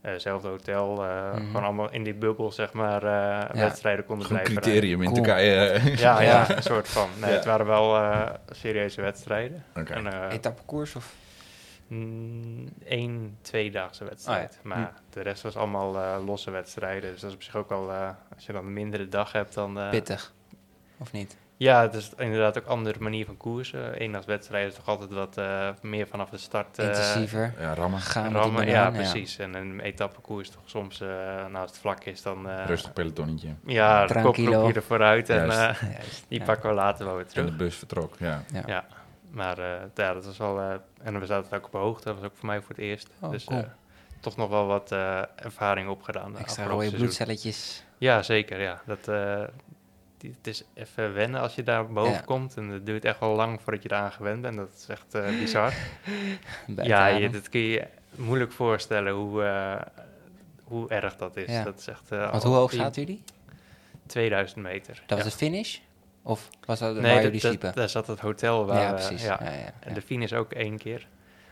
C: eh, hetzelfde hotel. eh,
B: Mhm.
C: Gewoon allemaal in die bubbel, zeg maar, eh,
B: Ja.
C: wedstrijden konden
A: Goed
C: blijven. rijden.
A: criterium in
B: Cool.
A: Turkije.
C: Ja, ja,
B: Ja.
C: een soort van. Nee,
A: Ja.
C: Het waren wel eh, serieuze wedstrijden.
A: Oké.
C: En, eh,
B: Etappekoers of...
C: Mm, één tweedaagse wedstrijd.
B: Ah, ja.
C: Maar de rest was allemaal eh, losse wedstrijden. Dus dat is op zich ook wel... eh, als je dan een mindere dag hebt, dan... eh,
B: Pittig. Of niet?
C: Ja, het is inderdaad ook een andere manier van koersen. Eendagswedstrijden is toch altijd wat eh, meer vanaf de start... eh,
B: Intensiever.
A: Ja, rammen.
B: Gaan met die
C: rammen.
B: banaan,
C: Ja, precies. En een etappekoers toch soms... eh, nou, als het vlak is, dan... eh,
A: Rustig pelotonnetje.
C: Ja, de
B: Tranquilo.
C: kopgroepje er vooruit. En
A: Juist.
C: eh,
B: Juist,
C: die
B: ja.
C: pakken we later wel weer
A: En
C: terug.
A: de bus vertrok, ja.
C: Ja, maar eh, ja, dat was wel. eh, en we zaten ook op hoogte, dat was ook voor mij voor het eerst.
B: Oh,
C: dus
B: cool.
C: eh, toch nog wel wat eh, ervaring opgedaan. de
B: Extra
C: afgelopen
B: rode
C: seizoen.
B: bloedcelletjes.
C: Ja, zeker. Ja. Dat, eh, die- het is even wennen als je daar boven
B: Ja.
C: komt. En het duurt echt wel lang voordat je eraan gewend bent. Dat is echt eh, bizar.
B: Bij
C: ja,
B: het
C: je,
B: adem.
C: dat kun je je moeilijk voorstellen hoe, eh, hoe erg dat is.
B: Ja.
C: Dat is echt, eh,
B: Want
C: al
B: hoe hoog
C: die
B: zaten jullie?
C: 2000 meter.
B: Dat
C: Ja.
B: was de finish? Of was dat waar
C: Nee,
B: jullie
C: dat- dat-
B: sliepen?
C: daar zat het hotel waar.
B: ja,
C: we-
B: precies.
C: ja.
B: Ja, ja, ja.
C: En de fine is ook één keer.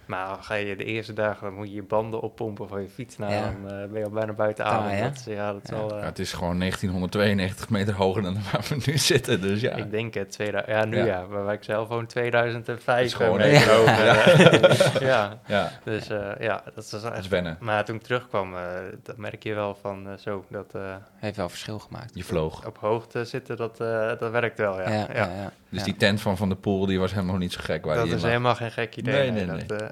C: Maar ga je de eerste dagen, dan moet je je banden oppompen van je fiets. Nou,
B: Ja.
C: dan eh, ben je al bijna buiten
B: Taai,
C: adem.
B: hè?
C: Dat is- ja, dat is
B: Ja.
C: wel... eh,
A: Ja, het is gewoon 1992 meter hoger dan waar we nu zitten, dus ja.
C: Ik denk het, 2000, ja, nu ja.
A: Ja.
C: Maar waar ik zelf woon, 2005.
A: Is gewoon
C: eh, meter
A: even
C: hoger, eh, ja.
A: Ja,
C: dus eh, ja, dat was
A: dat is
C: echt...
A: wennen.
C: Maar toen ik terugkwam, eh, dat merk je wel van eh, zo, dat eh,
B: Heeft wel verschil gemaakt.
A: Je vloog.
C: op hoogte zitten, dat, eh, dat werkt wel, ja. ja,
A: Dus
B: ja.
A: die tent van Van der Poel, die was helemaal niet zo gek. Waar
C: Dat
A: die
C: is
A: lag.
C: helemaal geen gek idee.
A: Nee,
C: nee,
A: nee,
C: dat, eh,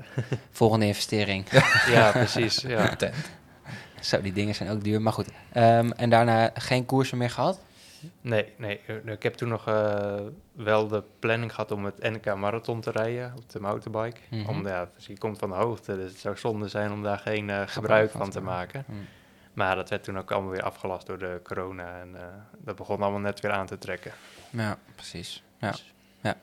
B: Volgende investering.
C: ja, precies, ja.
A: Tent.
B: Zo, die dingen zijn ook duur. Maar goed. Ehm, en daarna geen koersen meer gehad?
C: Nee, nee. eh, Ik heb toen nog eh, wel de planning gehad om het NK Marathon te rijden op de mountainbike.
B: Mhm.
C: Om, ja, dus je komt van de hoogte, dus het zou zonde zijn om daar geen eh,
B: Gebruik
C: gebruik
B: van
C: van
B: te
C: te maken.
B: Mm.
C: Maar dat werd toen ook allemaal weer afgelast door de corona. En eh, dat begon allemaal net weer aan te trekken.
B: Ja, precies. Ja. ja.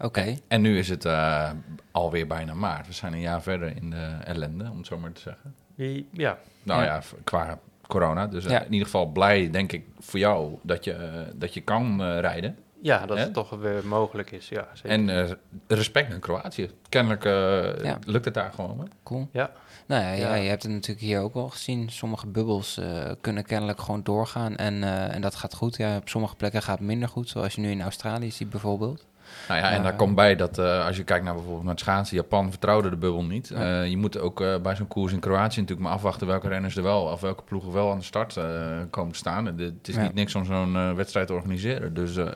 B: Oké.
A: En nu is het eh, alweer bijna maart. We zijn een jaar verder in de ellende, om het zo maar te zeggen.
C: Die- Ja,
A: Nou
B: Ja.
A: ja, v- qua corona. Dus eh,
B: Ja.
A: in ieder geval blij, denk ik, voor jou dat je, eh, dat je kan eh, rijden.
C: Ja, dat
A: Hè?
C: het toch weer mogelijk is. Ja, zeker.
A: En eh, respect naar Kroatië. Kennelijk eh,
B: Ja.
A: lukt het daar gewoon. Hè?
B: Cool.
C: Ja.
B: Nou ja, ja,
C: Ja.
B: je hebt het natuurlijk hier ook al gezien. Sommige bubbels eh, kunnen kennelijk gewoon doorgaan en, eh, en dat gaat goed. Ja, op sommige plekken gaat het minder goed, zoals je nu in Australië ziet bijvoorbeeld.
A: Nou ja, en
B: Ja.
A: daar komt bij dat eh, als je kijkt naar bijvoorbeeld naar het schaatsen, Japan vertrouwde de bubbel niet.
B: Ja.
A: Eh, je moet ook eh, bij zo'n koers in Kroatië natuurlijk maar afwachten welke renners er wel of welke ploegen wel aan de start eh, komen te staan. En dit- het is
B: Ja.
A: niet niks om zo'n eh, wedstrijd te organiseren. Dus eh,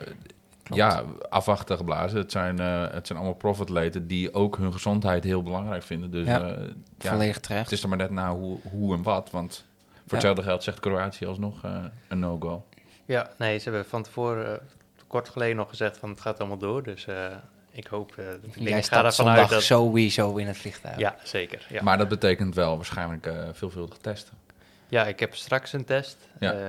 A: ja, afwachten geblazen. Het zijn, eh, het zijn allemaal profatleten die ook hun gezondheid heel belangrijk vinden. Dus
B: Ja.
A: ja. ja,
B: Volledig
A: het
C: Dus
B: terecht.
A: is er maar net na hoe, hoe en wat. Want voor
B: Ja.
A: hetzelfde geld zegt Kroatië alsnog eh, een no-go.
C: Ja, nee, ze hebben van tevoren eh, kort geleden nog gezegd van het gaat allemaal door. Dus eh, ik hoop, eh, ik, denk,
B: Jij
C: ik ga
B: staat
C: ervan
B: zondag
C: uit dat...
B: sowieso in het vliegtuig.
C: Ja, zeker. Ja.
A: Maar dat betekent wel waarschijnlijk eh, veelvuldig testen.
C: ja, ik heb straks een test.
A: Ja.
C: eh,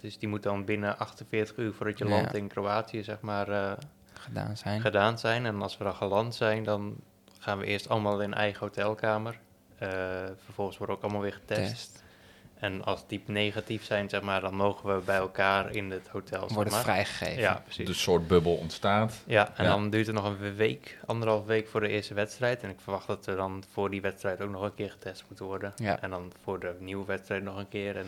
C: dus die moet dan binnen 48 uur voordat je
B: Ja.
C: landt in Kroatië, zeg maar, eh,
B: Gedaan zijn.
C: gedaan zijn. En als we dan geland zijn, dan gaan we eerst allemaal in eigen hotelkamer. Eh, vervolgens worden we ook allemaal weer getest.
B: Test.
C: En als die negatief zijn, zeg maar, dan mogen we bij elkaar in het hotel, zeg
B: Wordt het
C: maar.
B: vrijgegeven.
C: Ja, precies.
A: De soort bubbel ontstaat.
C: Ja, en
A: Dus- Ja.
C: dan duurt het nog een week, anderhalf week voor de eerste wedstrijd. En ik verwacht dat er dan voor die wedstrijd ook nog een keer getest moet worden.
B: Ja.
C: En dan voor de nieuwe wedstrijd nog een keer. En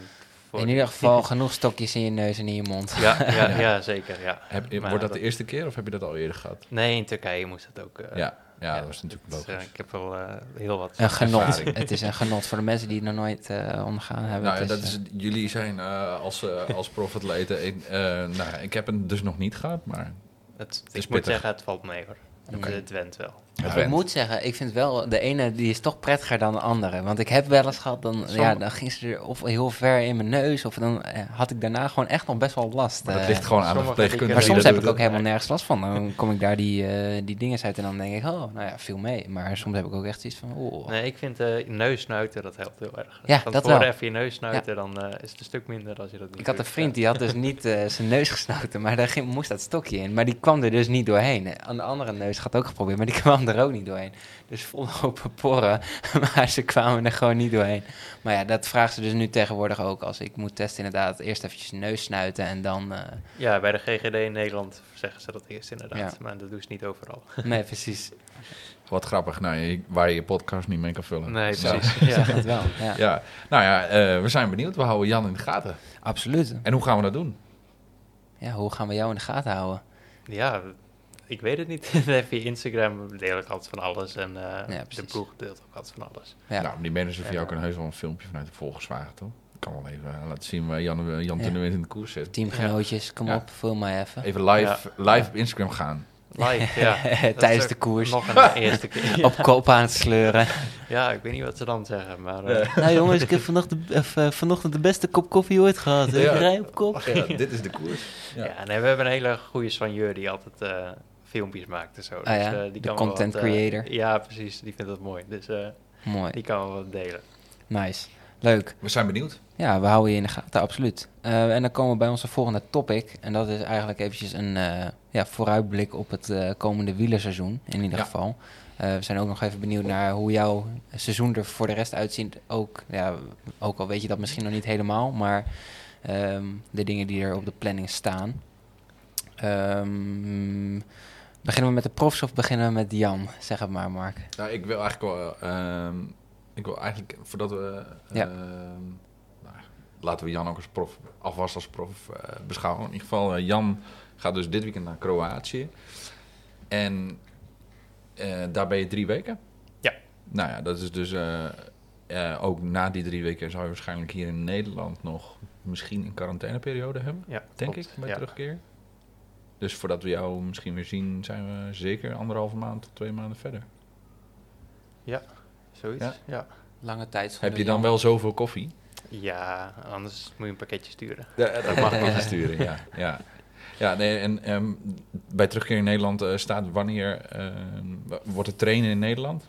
C: voor
B: In ieder geval genoeg stokjes in je neus en in je mond.
C: Ja, ja, ja zeker. Ja.
A: Heb,
C: Maar
A: wordt dat e- de
C: dat-
A: eerste keer of heb je dat al eerder gehad?
C: Nee, in Turkije moest dat ook. eh,
A: ja, ja,
C: ja,
A: dat is natuurlijk
C: dus, eh,
A: logisch.
C: ik heb wel eh, heel wat.
B: Een genot.
A: Ervaring.
B: het is een genot voor de mensen die het nog nooit eh, ondergaan hebben.
A: nou, ja,
B: Het
A: dat
B: eh,
A: is, het. jullie zijn eh, als, eh als profatleten... Ik, eh, nou, ik heb het dus nog niet gehad, maar...
C: Het, ik
A: is
C: moet
A: pittig.
C: zeggen, het valt mee hoor.
B: Oké.
C: Het went wel.
A: Ja,
B: ik moet zeggen, ik vind wel, de ene die is toch prettiger dan de andere. Want ik heb wel eens gehad, dan, ja,
A: Sommige-
B: dan ging ze er of heel ver in mijn neus, of dan eh, had ik daarna gewoon echt nog best wel last.
A: maar dat
B: eh.
A: ligt gewoon aan de
C: sommige
A: verpleegkundige.
B: maar
C: die
B: soms
A: die
B: heb
A: dat
B: ik ook
A: doet.
B: helemaal nergens last van. Dan kom ik daar die, eh, die dingen uit en dan denk ik, oh, nou ja, viel mee. Maar soms heb ik ook echt iets van, oh.
C: Nee, ik vind eh neus snuiten, dat helpt heel erg.
B: Ja,
C: Van
B: dat
C: tevoren
B: wel.
C: even je neus snuiten, dan eh, is het een stuk minder als je dat niet
B: Ik had een
C: doet.
B: vriend die had dus niet eh, zijn neus gesnoten, maar daar ging, moest dat stokje in. Maar die kwam er dus niet doorheen. Aan de andere neus gaat ook geprobeerd, maar die kwam er ook niet doorheen. Dus vol open poren, maar ze kwamen er gewoon niet doorheen. Maar ja, dat vraagt ze dus nu tegenwoordig ook. Als ik moet testen, inderdaad, eerst eventjes neus snuiten en dan... eh,
C: Ja, bij de GGD in Nederland zeggen ze dat eerst inderdaad.
B: Ja.
C: Maar dat doen ze niet overal.
B: nee, precies.
A: Wat grappig, nou, je- waar je je podcast niet mee kan vullen.
C: Nee,
A: Nou,
C: precies.
B: Ik
C: Ja.
B: zag het wel, ja.
A: Ja, nou ja, eh, we zijn benieuwd. We houden Jan in de gaten.
B: Absoluut.
A: En hoe gaan we dat doen?
B: Ja, hoe gaan we jou in de gaten houden?
C: ja, ik weet het niet. Via Instagram deel ik altijd van alles. En eh,
B: Ja,
C: de
B: precies.
C: ploeg deelt ook altijd van alles.
B: Ja.
A: Nou, die mensen van
C: Ja.
A: jou kunnen heus wel een filmpje vanuit de Volkswagen, toch? Ik kan wel even eh, laten zien waar Jan, eh, Jan
B: Ja.
A: ten de Wind in de koers zit.
B: Teamgenootjes, kom
A: Ja.
B: op, vul mij even.
A: Even live, live op Instagram gaan.
C: Live, ja. Dat
B: Tijdens
C: is
B: de
C: ook
B: koers.
C: Nog een eerste keer. Ja.
B: Op kop aan het sleuren.
C: Ja, ik weet niet wat ze dan zeggen, maar... eh,
B: Nou jongens, ik heb vanochtend, of, eh, vanochtend de beste kop koffie ooit gehad. hè.
A: Ja.
B: Ik rij op kop.
A: Ja, dit is de koers.
C: ja,
A: Ja.
C: nee, we hebben een hele goede soigneur die altijd eh, filmpjes maakt en zo.
B: Ah ja,
C: eh, die
B: de
C: kan wel
B: content
C: wat, eh,
B: creator.
C: ja, precies. Die vindt dat mooi. Dus eh,
B: Mooi,
C: die kan wel wat delen.
B: nice. Leuk.
A: We zijn benieuwd.
B: Ja, we houden je in de gaten, absoluut. Eh, en dan komen we bij onze volgende topic. En dat is eigenlijk eventjes een eh, ja, vooruitblik op het eh, komende wielerseizoen, in ieder
A: Ja.
B: geval. Eh, we zijn ook nog even benieuwd naar hoe jouw seizoen er voor de rest uitziet. Ook, ja, ook al weet je dat misschien nog niet helemaal, maar ehm, de dingen die er op de planning staan. Ehm, beginnen we met de profs of beginnen we met Jan? Zeg het maar, Mark.
A: Nou, ik wil eigenlijk wel. ehm, ik wil eigenlijk voordat we.
B: Ja.
A: ehm, nou, laten we Jan ook als prof, alvast als prof eh, beschouwen. In ieder geval, eh, Jan gaat dus dit weekend naar Kroatië. En eh, daar ben je drie weken.
C: Ja.
A: Nou ja, dat is dus. eh, eh, ook na die drie weken zou je waarschijnlijk hier in Nederland nog misschien een quarantaineperiode hebben,
C: Ja,
A: denk
C: klopt.
A: ik, bij
C: ja.
A: terugkeer. Dus voordat we jou misschien weer zien, zijn we zeker anderhalve maand tot twee maanden verder.
C: Zoiets,
A: Ja.
C: ja. ja.
B: Lange tijd.
A: Heb je dan wel zoveel koffie?
C: anders moet je een pakketje sturen.
A: Ja, dat mag nog sturen, ja. ja. Ja, nee, en ehm, bij terugkeer in Nederland eh, staat wanneer ehm, wa- wordt het trainen in Nederland?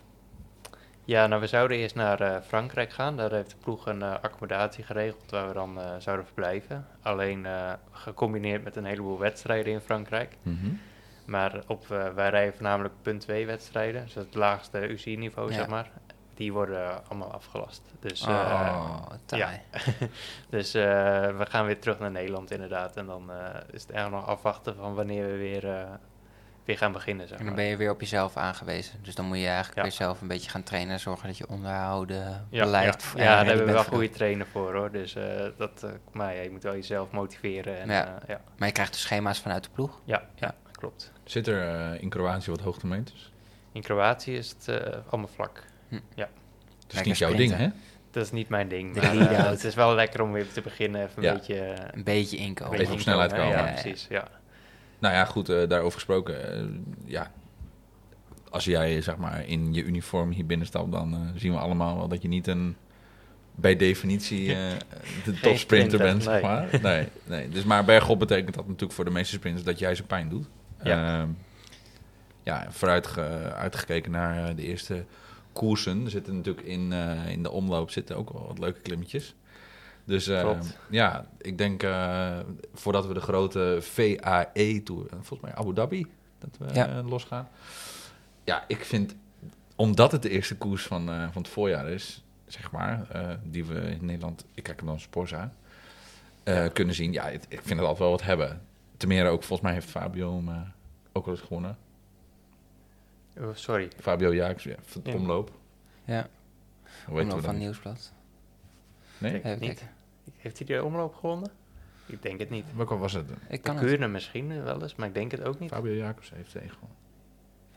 C: Ja, nou, we zouden eerst naar eh, Frankrijk gaan. Daar heeft de ploeg een eh, accommodatie geregeld waar we dan eh, zouden verblijven. Alleen eh, gecombineerd met een heleboel wedstrijden in Frankrijk.
A: Mhm.
C: Maar op, eh, wij rijden voornamelijk punt 2 wedstrijden. Dus het laagste UC-niveau,
B: Ja.
C: zeg maar. die worden allemaal afgelast. Dus, eh,
A: Ah.
B: oh, taai.
C: ja. dus eh, we gaan weer terug naar Nederland inderdaad. En dan eh, is het eigenlijk nog afwachten van wanneer we weer, eh, weer gaan beginnen. Zeg
B: En dan
C: maar.
B: ben je weer op jezelf aangewezen. Dus dan moet je eigenlijk
C: Ja.
B: weer zelf een beetje gaan trainen. Zorgen dat je onderhouden
C: Ja,
B: beleid...
C: ja.
B: voor-
C: ja, daar
B: ready
C: hebben we wel
B: bent voor-
C: goede trainer voor hoor. Dus eh, dat, eh, maar ja, je moet wel jezelf motiveren. En,
B: Ja.
C: eh, ja.
B: Maar je krijgt de schema's vanuit de ploeg.
C: Ja,
B: Ja.
C: ja. klopt.
A: Zit er eh, in Kroatië wat hoogtemeters?
C: In Kroatië is het eh, allemaal vlak.
A: Dus Het is
B: Lekker
A: niet jouw ding, hè?
B: sprinten.
C: Dat is niet mijn ding.
B: De
C: Maar,
B: lead-out.
C: eh, het is wel lekker om weer te beginnen. Even een
A: Ja.
C: beetje. eh, een
B: Een beetje inkomen.
A: Even op
C: inkomen,
A: snelheid
C: hè?
A: komen.
C: Ja,
B: Ja, ja.
C: precies. Ja.
A: Nou ja, goed, eh, daarover gesproken. eh, ja, als jij zeg maar in je uniform hier binnenstapt, dan eh, zien we allemaal wel dat je niet een bij definitie eh, de topsprinter
C: sprinter,
A: bent, zeg
C: nee.
A: maar. Nee, nee. Dus maar bergop betekent dat natuurlijk voor de meeste sprinters dat jij ze pijn doet.
C: Ja.
A: Ehm, ja, vooruit ge- uitgekeken naar eh, de eerste koersen. Er zitten natuurlijk in, eh, in de omloop zitten ook wel wat leuke klimmetjes. Dus eh,
C: Klopt.
A: ja, ik denk eh, voordat we de grote VAE-tour, eh, volgens mij Abu Dhabi, dat we
B: Ja.
A: eh, losgaan. Ja, ik vind, omdat het de eerste koers van, eh, van het voorjaar is, zeg maar, eh, die we in Nederland, ik kijk hem dan Sporza, eh, kunnen zien. Ja, het- ik vind het altijd wel wat hebben. Ten meer ook, volgens mij heeft Fabio hem eh, ook wel eens gewonnen.
C: Oh, sorry.
A: Fabio Jaaks, ja, van de
C: Ja.
A: omloop.
B: Ja,
A: Hoe weten
B: omloop
A: we
B: van
A: dat?
B: Nieuwsblad.
A: Nee?
C: Denk het
B: Even
C: niet.
B: kijken.
C: Heeft hij de omloop gewonnen? Ik denk het niet.
A: Welke was het?
B: Ik
C: De
B: kan het.
C: Kuurne misschien wel eens, maar ik denk het ook niet.
A: Fabio Jacobs heeft tegen gewonnen.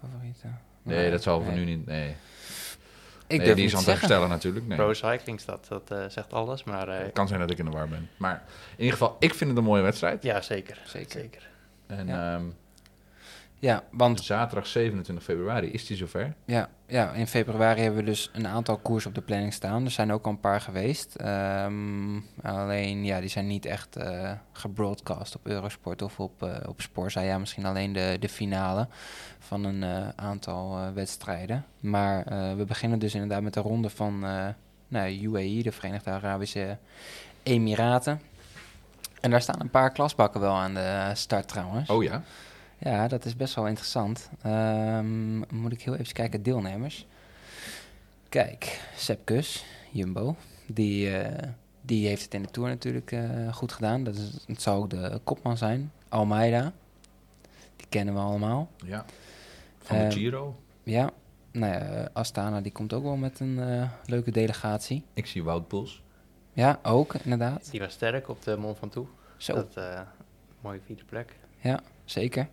B: Favorieten.
A: Nee, dat zal
B: eh, nee.
A: voor nu niet. Nee,
B: Ik
A: nee
B: durf
A: die
B: niet
A: is aan
B: te
A: het
B: zeggen.
A: herstellen natuurlijk. Nee.
C: Pro Cycling staat, dat eh, zegt alles. Maar eh,
A: Het kan zijn dat ik in de war ben. Maar in ieder geval, ik vind het een mooie wedstrijd.
C: ja, zeker.
B: Zeker.
C: zezeker.
A: En
B: Ja.
A: ehm,
B: Ja, want
A: zaterdag 27 februari is die zover.
B: ja, ja, in februari hebben we dus een aantal koers op de planning staan. Er zijn ook al een paar geweest. Ehm, alleen, ja, die zijn niet echt eh gebroadcast op Eurosport of op, eh op Sporza. Ja, misschien alleen de, de finale van een eh, aantal eh, wedstrijden. Maar eh, we beginnen dus inderdaad met de ronde van eh nou, UAE, de Verenigde Arabische Emiraten. En daar staan een paar klasbakken wel aan de start trouwens.
A: Oh ja.
B: Ja, dat is best wel interessant. Ehm, moet ik heel even kijken, deelnemers. Kijk, Sepp Kus, Jumbo, die, eh, die heeft het in de Tour natuurlijk eh, goed gedaan. Dat is, het zou ook de kopman zijn. Almeida, die kennen we allemaal.
A: ja. Van
B: Ehm,
A: de Giro.
B: Ja, nou ja, eh, Astana die komt ook wel met een eh, leuke delegatie.
A: Ik zie Wout Poels.
B: Ja, ook inderdaad.
C: Die was sterk op de Mont Ventoux.
B: Zo,
C: Dat eh, mooie vierde plek.
B: zeker.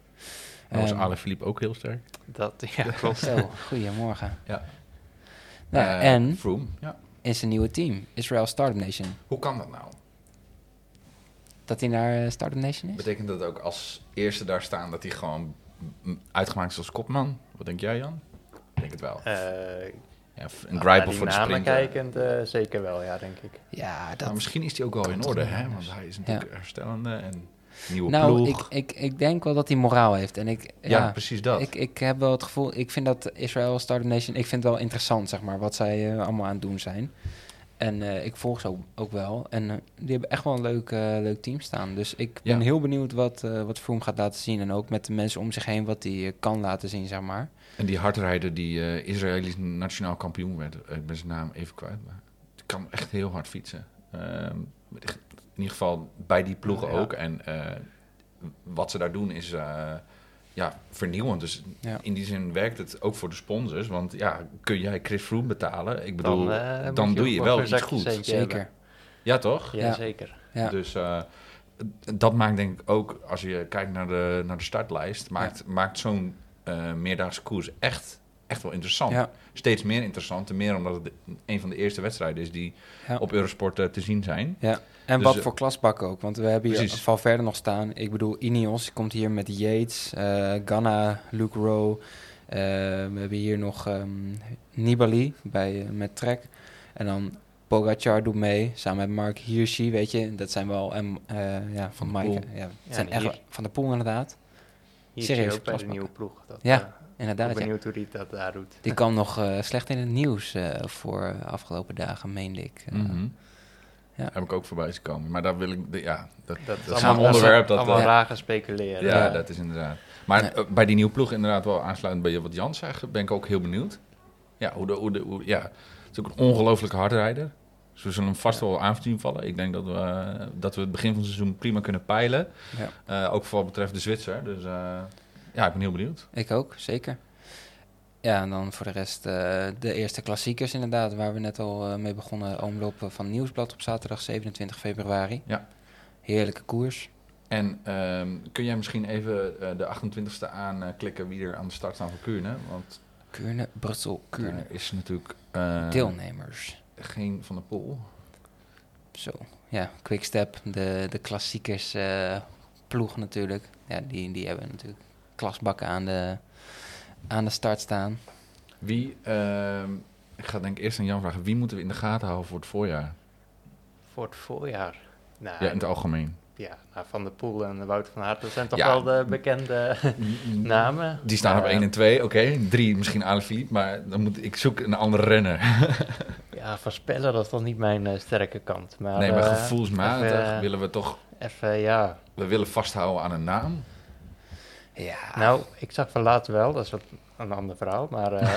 A: Dan was
B: Ehm,
A: Ale Philippe ook heel sterk.
C: Dat, ja, klopt.
B: Zo, goedemorgen.
A: Ja.
B: Nou,
A: Eh,
B: en
A: Froome. Ja.
B: is een nieuwe team, Israel Startup Nation.
A: Hoe kan dat nou?
B: Dat hij naar eh, Startup Nation is?
A: Betekent dat ook als eerste daar staan dat hij gewoon m- uitgemaakt is als kopman? Wat denk jij, Jan? Ik denk het wel.
C: Eh,
A: Ja, f- een gripe
C: naar die
A: voor de
C: namen
A: sprinter.
C: kijkend, eh, zeker wel, ja, denk ik.
B: Ja, dat...
A: Maar misschien is hij ook wel in
B: toch
A: orde,
B: niet
A: hè?
B: anders?
A: Want hij is natuurlijk herstellende en nieuwe
B: nou,
A: ploeg.
B: ik, ik, ik denk wel dat hij moraal heeft. En ik, ja,
A: ja, precies dat.
B: Ik, ik heb wel het gevoel... Ik vind dat Israël Startup Nation... Ik vind het wel interessant, zeg maar, wat zij eh, allemaal aan het doen zijn. En eh, ik volg ze ook, ook wel. En eh, die hebben echt wel een leuk, eh, leuk team staan. Dus ik ben
A: Ja.
B: heel benieuwd wat, eh wat Froome gaat laten zien. En ook met de mensen om zich heen wat hij eh, kan laten zien, zeg maar.
A: En die hardrijder die eh, Israëlisch nationaal kampioen werd. eh, Ik ben zijn naam even kwijt, maar die kan echt heel hard fietsen. Ehm, in ieder geval bij die ploegen
C: Ja.
A: ook. En eh, wat ze daar doen is eh, ja, vernieuwend. Dus
B: Ja.
A: in die zin werkt het ook voor de sponsors. Want ja, kun jij Chris Froome betalen? Ik
C: Dan,
A: bedoel, dan,
C: eh, moet
A: doe je
C: ook
A: wel
C: voor
A: iets
C: zakjes
A: goeds.
C: centje
B: Zeker.
C: hebben.
A: Ja, toch?
B: Ja.
C: Ja, zeker.
B: Ja.
A: Dus eh, dat maakt denk ik ook, als je kijkt naar de, naar de startlijst, maakt, maakt zo'n eh, meerdaagse koers echt, echt wel interessant.
B: Ja.
A: Steeds meer interessant, ten meer omdat het een van de eerste wedstrijden is die
B: Ja.
A: op Eurosport eh, te zien zijn.
B: Ja, en
A: Dus,
B: wat
A: eh,
B: voor klasbakken ook. Want we hebben hier
A: precies.
B: Valverde nog staan. Ik bedoel, Ineos komt hier met Yates, eh Ganna, Luke Rowe. Eh, we hebben hier nog ehm, Nibali bij, eh, met Trek. En dan Pogacar doet mee, samen met Mark Hirschi, weet je. Dat zijn wel... En, eh, ja, van
A: de
B: Mike.
A: Poel.
B: Ja, het
C: Ja,
B: zijn
C: en
B: echt
C: hier-
B: wel- van de Poel inderdaad.
C: Hier
B: Serieus,
C: zie je ook bij de
B: klasbakken.
C: nieuwe ploeg. Dat,
B: Ja,
C: eh, ik
B: Inderdaad,
C: ben
B: ja.
C: benieuwd hoe die dat daar doet.
B: Die kwam nog eh, slecht in het nieuws eh, voor de afgelopen dagen, meende ik. Eh,
A: Mhm.
B: ja.
A: Heb ik ook voorbij zien komen. Maar daar wil ik, de- ja, dat,
C: Dat
A: is
C: allemaal-
A: een onderwerp dat,
C: Allemaal
A: eh,
C: raar gaan speculeren.
A: ja,
B: Ja.
A: dat is inderdaad. Maar
B: Nee.
A: eh, bij die nieuwe ploeg inderdaad wel aansluitend bij wat Jan zegt, ben ik ook heel benieuwd. Ja, hoe de, hoe de, hoe, ja. is ook een ongelooflijke hardrijder. Dus we zullen hem vast wel aan zien vallen. Ik denk dat we, eh, dat we het begin van het seizoen prima kunnen peilen. Eh, ook voor wat betreft de Zwitser. Dus eh, ja, ik ben heel benieuwd.
B: Ik ook, zeker. Ja, en dan voor de rest eh, de eerste klassiekers inderdaad, waar we net al eh, mee begonnen. Omlopen van Nieuwsblad op zaterdag 27 februari.
A: Ja.
B: Heerlijke koers.
A: En ehm, kun jij misschien even eh, de 28e aanklikken wie er aan de start staan voor Kuurne? Want
B: Kuurne, Brussel, Kuurne.
A: Kuurne is natuurlijk eh,
B: Deelnemers.
A: geen van de pool.
B: Zo, ja, Quickstep, de, de klassiekers eh, ploeg natuurlijk. Ja, die, die hebben natuurlijk klasbakken aan de, aan de start staan.
A: Wie, ehm, ik ga denk ik eerst aan Jan vragen, wie moeten we in de gaten houden voor het voorjaar?
C: Voor het voorjaar. Nou,
A: Ja, in het algemeen.
C: ja, nou, Van der Poel en Wout van Aert, dat zijn toch
A: Ja.
C: wel de bekende namen.
A: Die staan op
C: Eh,
A: 1 en 2, oké. 3 misschien Alaphilippe, maar dan moet ik zoeken een andere renner.
C: Ja, voorspellen, dat is dan niet mijn eh, sterke kant. Maar,
A: nee, maar
C: eh,
A: gevoelsmatig
C: even, eh,
A: willen we toch...
C: Even, ja.
A: We willen vasthouden aan een naam.
B: Ja,
C: Nou, ik zag van laatst wel, dat is wat een ander verhaal, maar... eh,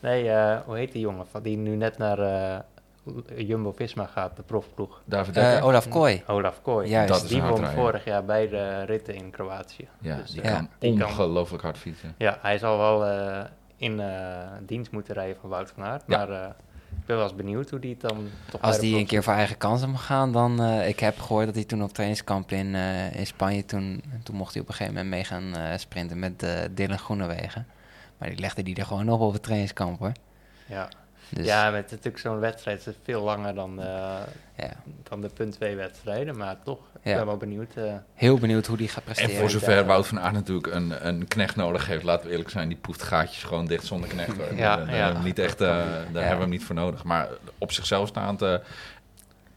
C: nee, eh, hoe heet die jongen van, die nu net naar eh, Jumbo-Visma gaat, de profploeg?
A: David
B: eh,
A: Dekker.
C: oh,
B: Olaf Kooi.
C: Olaf Kooi. Dus
B: Juist.
A: Dat is
C: die
A: een
C: won
A: hardrijder.
C: vorig jaar beide ritten in Kroatië.
A: ja,
C: Dus,
A: die
C: eh,
A: kan
C: die kan-
A: ongelooflijk hard fietsen.
C: Ja, hij zal wel eh, in eh, dienst moeten rijden van Wout van Aert.
A: Ja.
C: Maar eh, ik ben wel eens benieuwd hoe die het dan toch bij
B: Als
C: de
B: die
C: ploeg
B: een keer voor eigen kansen mag gaan, dan... eh, ik heb gehoord dat hij toen op trainingskamp in, eh, in Spanje... Toen, toen mocht hij op een gegeven moment mee gaan eh, sprinten met eh Dylan Groenewegen. Maar die legde die er gewoon op op het trainingskamp, hoor.
C: zit. Ja,
B: Dus, ja.
C: ja met natuurlijk zo'n wedstrijd is het veel langer dan, eh, dan de punt 2 wedstrijden. Maar toch, ik
B: Ja.
C: ben wel benieuwd. eh,
B: Heel benieuwd hoe die gaat presteren.
A: En voor
C: ja.
A: zover Wout van Aert natuurlijk een, een knecht nodig heeft, laten we eerlijk zijn, die poeft gaatjes gewoon dicht zonder knecht. hoor.
C: Ja,
A: daar
C: ja.
A: hebben we hem niet echt, eh, daar hebben we hem niet voor nodig. Maar op zichzelf staand, eh,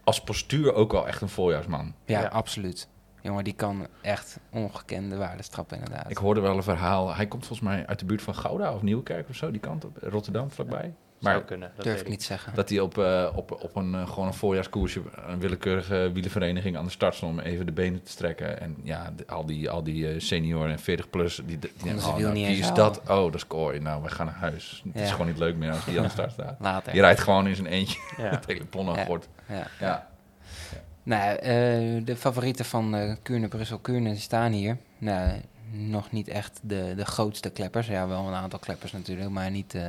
A: als postuur ook wel echt een voorjaarsman.
B: Ja,
C: Ja.
B: absoluut. Jongen, die kan echt ongekende waardes trappen, inderdaad.
A: Ik hoorde wel een verhaal. Hij komt volgens mij uit de buurt van Gouda of Nieuwkerk of zo, die kant op. Rotterdam vlakbij. Maar
C: zou kunnen. Dat
B: durf
C: weet
B: ik niet zeggen.
A: dat hij op, eh, op, op een, eh, gewoon een voorjaarskoersje, een willekeurige wielenvereniging aan de start stond om even de benen te strekken. En ja, de- al die, al die eh, senioren en 40-plus, die, die denken,
B: ze
A: oh,
B: wiel
A: nou,
B: niet
A: wie
B: eens
A: is dat? Oh, dat is kooi. Nou, we gaan naar huis. Het is
B: Ja.
A: gewoon niet leuk meer als die aan de start staat.
B: Later.
A: Je rijdt gewoon in zijn eentje
C: Ja.
A: het hele pon aan
B: Ja.
A: gort.
B: Ja.
A: Ja.
B: Nou, eh, de favorieten van eh Kuurne, Brussel, Kuurne die staan hier. Nou, nog niet echt de, de grootste kleppers. Ja, wel een aantal kleppers natuurlijk, maar niet eh,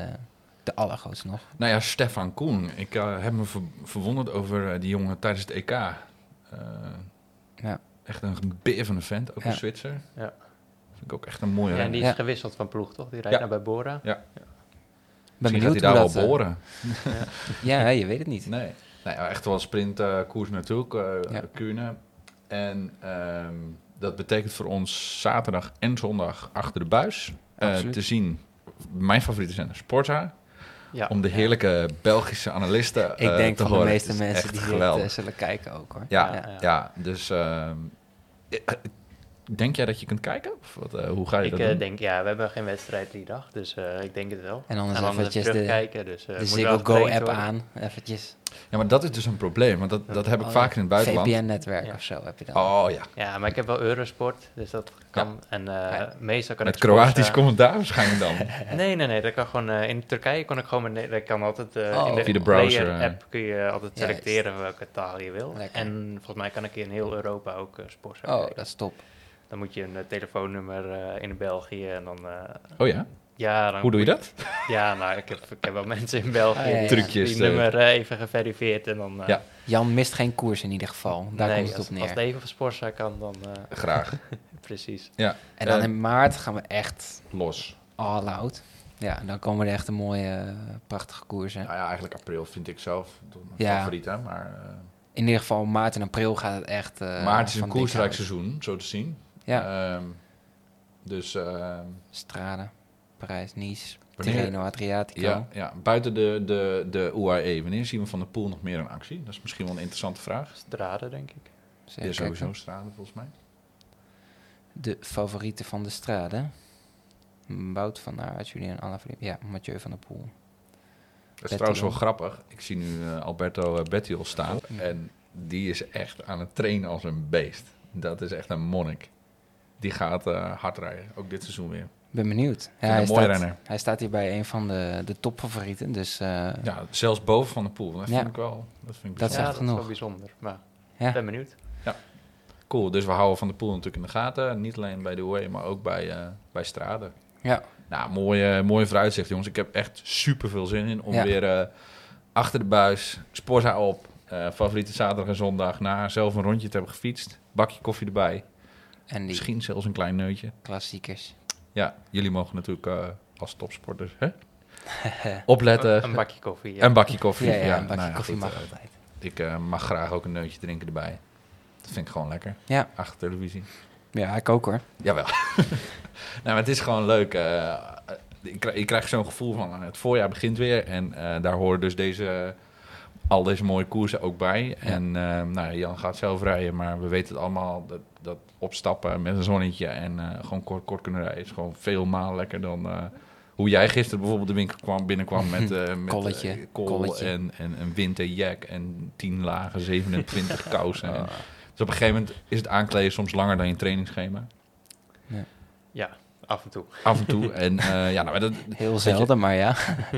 B: de allergrootste nog.
A: Nou ja, Stefan Koen. Ik eh, heb me ver- verwonderd over eh, die jongen tijdens het EK. Eh,
B: Ja.
A: Echt een beer van een vent, ook
B: Ja.
A: een Zwitser.
C: Ja.
A: Vind ik ook echt een mooie
C: Ja, en
A: renner.
C: die is
B: Ja.
C: gewisseld van ploeg, toch? Die rijdt
A: Ja.
C: naar bij Bora.
B: Ben
A: Misschien gaat hij
B: benieuwd
A: daar
B: hoe
A: wel
B: dat, eh,
A: boren.
B: Ja, je weet het niet.
A: Nee. nee, maar echt wel sprintkoers natuurlijk, eh
B: Ja.
A: Kuurne. En ehm, dat betekent voor ons zaterdag en zondag achter de buis eh,
B: Absoluut.
A: te zien. Mijn favorieten zijn de Sporza.
C: Ja.
A: Om de heerlijke Belgische analisten
B: Ik
A: eh,
B: denk
A: te
B: van
A: horen.
B: de
A: Het
B: meeste
A: is
B: mensen
A: echt
B: die dit
A: geweldig.
B: eh, zullen kijken ook hoor.
A: Ja,
C: Ja, ja.
A: ja. dus ehm, eh, denk jij dat je kunt kijken? Of wat, eh, hoe ga je
C: Ik
A: dat
C: eh,
A: doen?
C: denk, ja, we hebben geen wedstrijd die dag, dus eh, ik denk het wel.
B: En anders
C: dan
B: eventjes de-
C: terugkijken. Dus, eh
B: de
C: moet
B: Ziggo
C: wel
B: Go
C: getraind
B: app
C: worden.
B: aan, eventjes. Oh,
A: Ja, maar dat is dus een probleem, want dat, dat heb ik vaker in het buitenland.
B: VPN-netwerk
C: Ja.
B: of zo heb je dan.
A: Oh ja,
C: Ja, maar ik heb wel Eurosport, dus dat kan. En eh,
B: Ja.
C: meestal kan
A: met
C: ik... sports,
A: Kroatisch
C: eh,
A: commentaar waarschijnlijk dan.
C: Nee, nee, nee. Dat kan gewoon, eh, in Turkije kon ik gewoon... met nee, dat kan altijd... eh,
B: Oh.
C: in de,
A: Via de browser,
C: player
A: eh.
C: app kun je altijd
B: Juist.
C: selecteren welke taal je wil.
B: Lekker.
C: En volgens mij kan ik in heel Europa ook eh, sport
B: Oh,
C: kijken.
B: dat is top.
C: Dan moet je een eh, telefoonnummer eh, in België en dan... eh,
A: Oh ja,
C: ja, dan
A: hoe doe je dat?
C: Ja, nou, ik heb, ik heb wel mensen in België
B: Ah, ja, ja.
C: die-
A: Trucjes,
C: die
A: eh.
C: nummer eh, even geverifieerd en dan... eh,
A: Ja,
B: Jan mist geen koers in ieder geval. Daar
C: nee,
B: komt het
C: als,
B: op neer.
C: als het even van Sporza kan, dan eh,
A: Graag.
C: precies.
A: Ja,
B: en dan
A: eh,
B: in maart gaan we echt
A: los.
B: all out. Ja, en dan komen er echt een mooie, eh, prachtige koersen.
A: Nou ja, eigenlijk april vind ik zelf mijn
B: Ja.
A: favoriet, hè. Maar, eh,
B: In ieder geval maart en april gaat het echt. eh,
A: maart is een
B: van
A: koersrijk
B: dik hout.
A: seizoen, zo te zien.
B: Ja,
A: Ehm, dus ehm,
B: Straden, Parijs, Nice,
A: Wanneer-
B: Tirreno, Adriatico.
A: ja, ja, buiten de, de, de UAE, wanneer zien we Van der Poel nog meer in actie? Dat is misschien wel een interessante vraag.
C: Straden, denk ik.
B: Dus
A: Er
B: even
A: is sowieso
B: kijken.
A: straten volgens mij.
B: De favorieten van de Straden. Wout van Aert, Julian Alaphilippe. Ja, Mathieu van der Poel.
A: Dat is
B: Bettiol.
A: trouwens wel grappig. Ik zie nu eh, Alberto eh, Bettiol staan.
B: Oh,
A: En die is echt aan het trainen als een beest. Dat is echt een monnik. Die gaat eh, hard rijden, ook dit seizoen weer.
B: ben benieuwd. Ja,
A: een
B: hij,
A: mooie
B: staat,
A: renner.
B: hij staat hier bij een van de, de topfavorieten. Dus eh,
A: Ja, zelfs boven van de pool. Dat vind
B: Ja.
A: ik wel. Dat vind ik
B: Dat
A: bijzonder.
B: is echt
C: dat is
B: genoeg.
C: wel bijzonder. Maar
B: Ja.
C: ben benieuwd.
A: Cool, dus we houden van de pool natuurlijk in de gaten. Niet alleen bij de OE, maar ook bij, eh bij Strade.
B: Ja.
A: Nou, mooie, mooie vooruitzicht, jongens. Ik heb echt super veel zin in om
B: Ja.
A: weer eh, achter de buis, Sporza op, eh, favoriete zaterdag en zondag, na zelf een rondje te hebben gefietst, bakje koffie erbij,
B: en die
A: misschien zelfs een klein neutje.
B: klassiekers.
A: Ja, jullie mogen natuurlijk eh, als topsporters hè? opletten.
C: Een, een bakje koffie. ja.
A: eh, Een bakje koffie.
B: Ja, ja, een bakje
A: nou ja,
B: koffie
A: goed,
B: mag
A: eh,
B: altijd.
A: ik eh, mag graag ook een neutje drinken erbij. Dat vind ik gewoon lekker.
B: Ja.
A: Achter televisie.
B: Ja, ik ook hoor.
A: Jawel. nou, maar het is gewoon leuk. eh, eh, je krij- je krijgt zo'n gevoel van eh, het voorjaar begint weer. En eh, daar horen dus deze, al deze mooie koersen ook bij. En eh, nou, Jan gaat zelf rijden, maar we weten het allemaal. Dat, dat opstappen met een zonnetje en eh, gewoon kort, kort kunnen rijden is gewoon veel maal lekker dan... eh, hoe jij gisteren bijvoorbeeld de winkel kwam, binnenkwam met, eh met eh,
B: Kolletje,
A: kool
B: kolletje.
A: En, en een winterjack en 10 lagen, 27 kousen. En-
B: Oh.
A: Dus op een gegeven moment is het aankleden soms langer dan je trainingsschema.
C: Ja, af en toe.
A: Af en toe. En eh, ja, nou, maar dat,
B: Heel zelden, maar ja.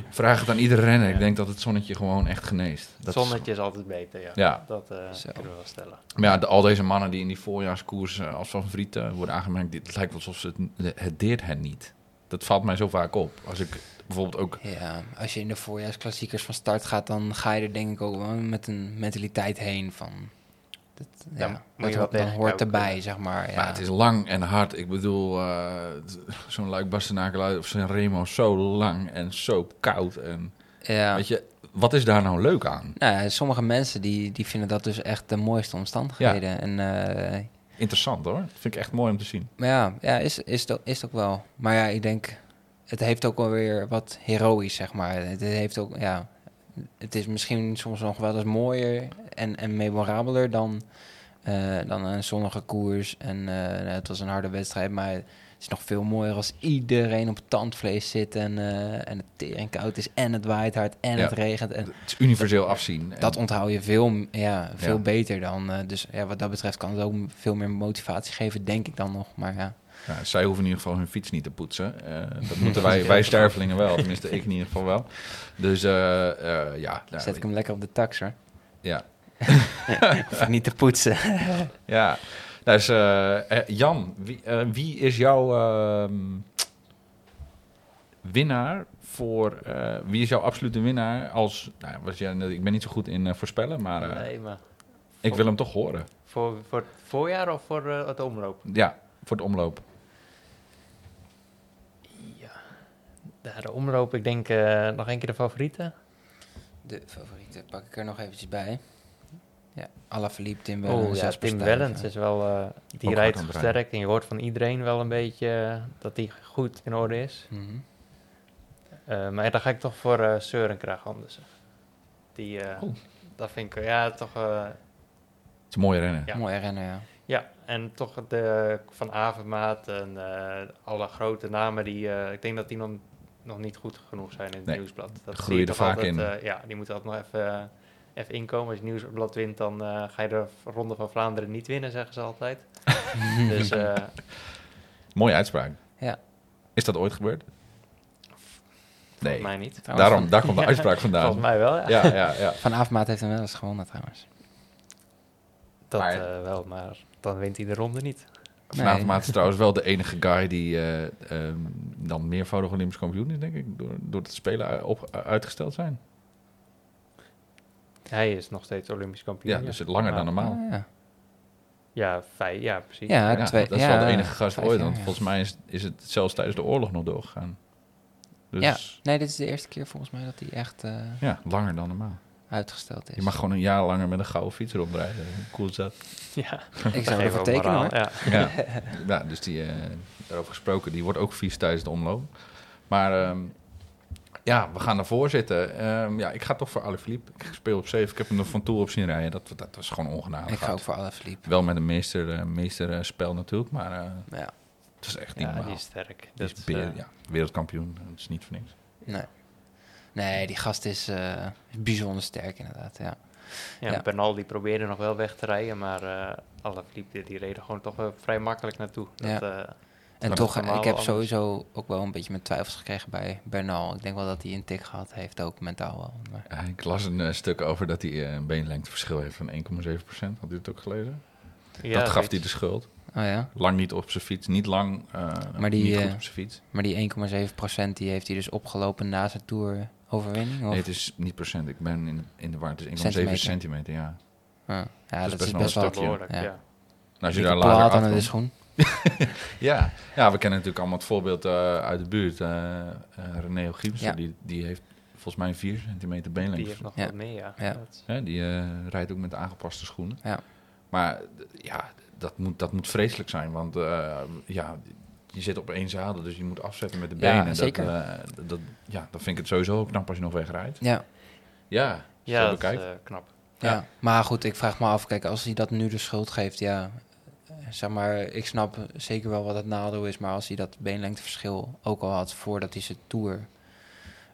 A: vraag het aan iedere renner. Ik
C: Ja.
A: denk dat het zonnetje gewoon echt geneest. Dat is-
C: Zonnetje is altijd beter, ja.
A: Ja.
C: Dat eh,
B: Zo.
C: kunnen we wel stellen.
A: maar ja, de- al deze mannen die in die voorjaarskoers eh, als favoriet eh, worden aangemerkt, dit, het lijkt wel alsof ze het, het deert hen niet. Dat valt mij zo vaak op. Als ik bijvoorbeeld ook...
B: Ja, als je in de voorjaarsklassiekers van start gaat, dan ga je er denk ik ook wel met een mentaliteit heen van. Dat, ja,
C: moet
B: dat
C: je wel
B: ho- dan
C: tegen
B: hoort
C: elkaar
B: erbij,
C: kunnen.
B: zeg maar. Ja.
A: Maar het is lang en hard. Ik bedoel, eh, t- zo'n Luik Bastenaken of zijn Remo is zo lang en zo koud. En,
B: ja.
A: Weet je, wat is daar nou leuk aan?
B: Nou, ja, sommige mensen die, die vinden dat dus echt de mooiste omstandigheden. En, eh,
A: Interessant hoor. Dat vind ik echt mooi om te zien.
B: maar ja, ja is, is, het ook- is het ook wel. Maar ja, ik denk, het heeft ook wel weer wat heroïs, zeg maar. Het heeft ook, ja, het is misschien soms nog wel eens mooier en, en memorabeler dan, eh, dan een zonnige koers. En eh, het was een harde wedstrijd, maar het is nog veel mooier als iedereen op het tandvlees zit en, eh, en het tering koud is en het waait hard en
A: Ja.
B: het regent. En,
A: Het is universeel afzien. En-
B: dat onthoud je veel, m- ja, veel
A: Ja.
B: beter dan. eh, dus ja, wat dat betreft kan het ook m- veel meer motivatie geven, denk ik dan nog. Maar ja,
A: Ja, zij hoeven in ieder geval hun fiets niet te poetsen. Eh, dat moeten wij, wij stervelingen wel, tenminste ik in ieder geval wel. Dus eh, eh, ja, nou,
B: zet ik hem lekker op de tax hoor.
A: ja,
B: Hoef ik niet te poetsen.
A: ja. Dus eh, eh, Jan, wie, eh, wie is jouw ehm, winnaar voor? eh, wie is jouw absolute winnaar? Als, nou, ja, wat jij net- ik ben niet zo goed in eh, voorspellen, maar eh,
C: nee, maar
A: ik wil hem toch horen.
C: voor, voor het voorjaar of voor eh, het omloop?
A: Ja, voor de omloop.
C: Ja. Ja, De omloop, ik denk eh, nog één keer de favorieten.
B: De favoriete eh, pak ik er nog eventjes bij. Ja, Alaphilippe, Tim Wellens.
C: Oh ja,
B: Jasper
C: Tim
B: Stuyven.
C: Wellens is wel, eh, die
A: Ook
C: rijdt
A: hard aan het
C: sterk en je hoort van iedereen wel een beetje eh, dat die goed in orde is.
B: Mhm.
C: Eh, maar dan ga ik toch voor eh Sørenkraag Andersen. Die, eh,
A: Oh.
C: dat vind ik, eh, ja, toch, eh,
A: Het is een mooie rennen.
C: Ja.
B: Mooi renner, ja.
C: ja, en toch de Van Avermaat en eh, alle grote namen die, eh, ik denk dat die nog, nog niet goed genoeg zijn in het
A: Nee,
C: nieuwsblad. Dat
A: groeien
C: zie je
A: er
C: toch
A: vaak
C: altijd,
A: in.
C: eh, ja, die moeten altijd nog even, eh, even inkomen. Als je het nieuwsblad wint, dan eh, ga je de Ronde van Vlaanderen niet winnen, zeggen ze altijd. dus eh,
A: Mooie uitspraak.
B: Ja.
A: Is dat ooit gebeurd? Nee.
C: volgens mij niet.
B: Trouwens,
A: Daarom, daar komt de
C: Ja.
A: uitspraak vandaan.
C: Volgens mij wel, ja.
A: Ja, ja, ja.
B: Van Avermaat heeft hem wel eens gewonnen trouwens.
C: Dat
A: Maar-
C: eh, wel, maar dan wint hij de ronde niet.
A: Vanavond is trouwens wel de enige guy die eh, ehm, dan meervoudig Olympisch kampioen is, denk ik. Door, door het spelen op, uitgesteld zijn.
C: Hij is nog steeds Olympisch kampioen.
A: Ja, dus het langer dan
C: Ah.
A: normaal.
B: Ah, ja.
C: Ja, vijf, ja precies.
B: Ja,
A: Ja,
B: twee-
A: dat is
B: ja,
A: wel de enige gast
B: vijf
A: ooit.
B: jaar,
A: Want
B: ja.
A: volgens mij is, is het zelfs tijdens de oorlog nog doorgegaan. Dus
B: ja,
A: ja,
B: nee, dit is de eerste keer volgens mij dat hij echt eh,
A: langer dan normaal.
B: uitgesteld is.
A: Je mag gewoon een jaar langer met een gouden fiets rondrijden. Hoe cool is dat?
C: ja.
B: Ik
C: Geef
B: zou ervoor
C: ook
B: tekenen
C: moraal,
B: hoor.
C: Ja.
A: Ja, ja dus die, eh, daarover gesproken, die wordt ook vies tijdens de omloop. Maar ehm, ja, we gaan daarvoor zitten. Ehm, ja, ik ga toch voor Alaphilippe. Ik speel op 7. Ik heb hem er van toe op zien rijden. Dat, dat was gewoon ongenadig.
B: Ik ga ook voor Alaphilippe.
A: Wel met een meester, eh, meester eh, spel natuurlijk, maar eh,
B: Ja,
A: het is echt niet
C: ja,
A: normaal.
C: die is sterk.
A: Die
C: Dat
A: is
C: is,
A: beer-
C: eh,
A: ja, wereldkampioen. Dat is niet voor niks.
B: nee. Nee, die gast is eh, bijzonder sterk inderdaad, ja.
C: ja,
B: ja.
C: Bernal die probeerde nog wel weg te rijden, maar eh alle die, die reden gewoon toch wel vrij makkelijk naartoe. Dat,
B: Ja.
C: eh,
B: En
A: Maar
B: toch,
C: dat kan
B: eh, ik heb
C: allemaal anders.
B: sowieso ook wel een beetje mijn twijfels gekregen bij Bernal. Ik denk wel dat hij een tik gehad heeft, ook mentaal wel. Maar
A: Ja, ik las een eh, stuk over dat hij eh, een beenlengteverschil heeft van 1,7%. Had u het ook gelezen?
C: Ja,
A: dat gaf
C: zoiets.
A: hij dus de schuld.
B: Oh ja,
A: Lang niet op zijn fiets. Niet lang, eh,
B: Maar die,
A: niet goed
B: eh,
A: op zijn fiets.
B: maar die 1,7% die heeft hij dus opgelopen na zijn tour overwinning? Of?
A: Nee, het is niet procent. Ik ben in, in de war. Het is 1,7
B: Centimeter.
A: centimeter. ja.
B: Ah, ja,
A: is
B: dat
A: best
B: is
A: wel
B: best
A: een
B: wel
A: stuk.
C: Dat behoorlijk,
B: Ja.
C: ja.
A: Nou, als je
B: dikke
A: daar
B: plaat
A: later
B: aan
A: achter
B: de
A: komt-
B: schoen.
A: Ja. ja, we kennen natuurlijk allemaal het voorbeeld eh, uit de buurt. eh eh René Giebsen,
B: Ja.
A: die, die heeft volgens mij 4 centimeter beenlengte.
C: Die heeft nog
B: Ja.
C: wat meer, ja.
B: Ja.
C: Dat-
A: Hè, die eh, rijdt ook met aangepaste schoenen.
B: Ja.
A: Maar d- ja, dat moet, dat moet vreselijk zijn. Want eh, ja, je zit op één zadel, dus je moet afzetten met de
B: Ja,
A: benen. Dat,
B: zeker.
A: eh, dat, ja, dan vind ik het sowieso knap als je nog wegrijdt.
B: Ja,
A: Ja,
C: ja,
A: zo
C: dat is
A: bekijkt.
C: eh, knap.
B: ja.
A: Ja.
B: maar goed, ik vraag me af, kijk, als hij dat nu de schuld geeft, ja, eh, zeg maar, ik snap zeker wel wat het nadeel is, maar als hij dat beenlengteverschil ook al had voordat hij zijn tour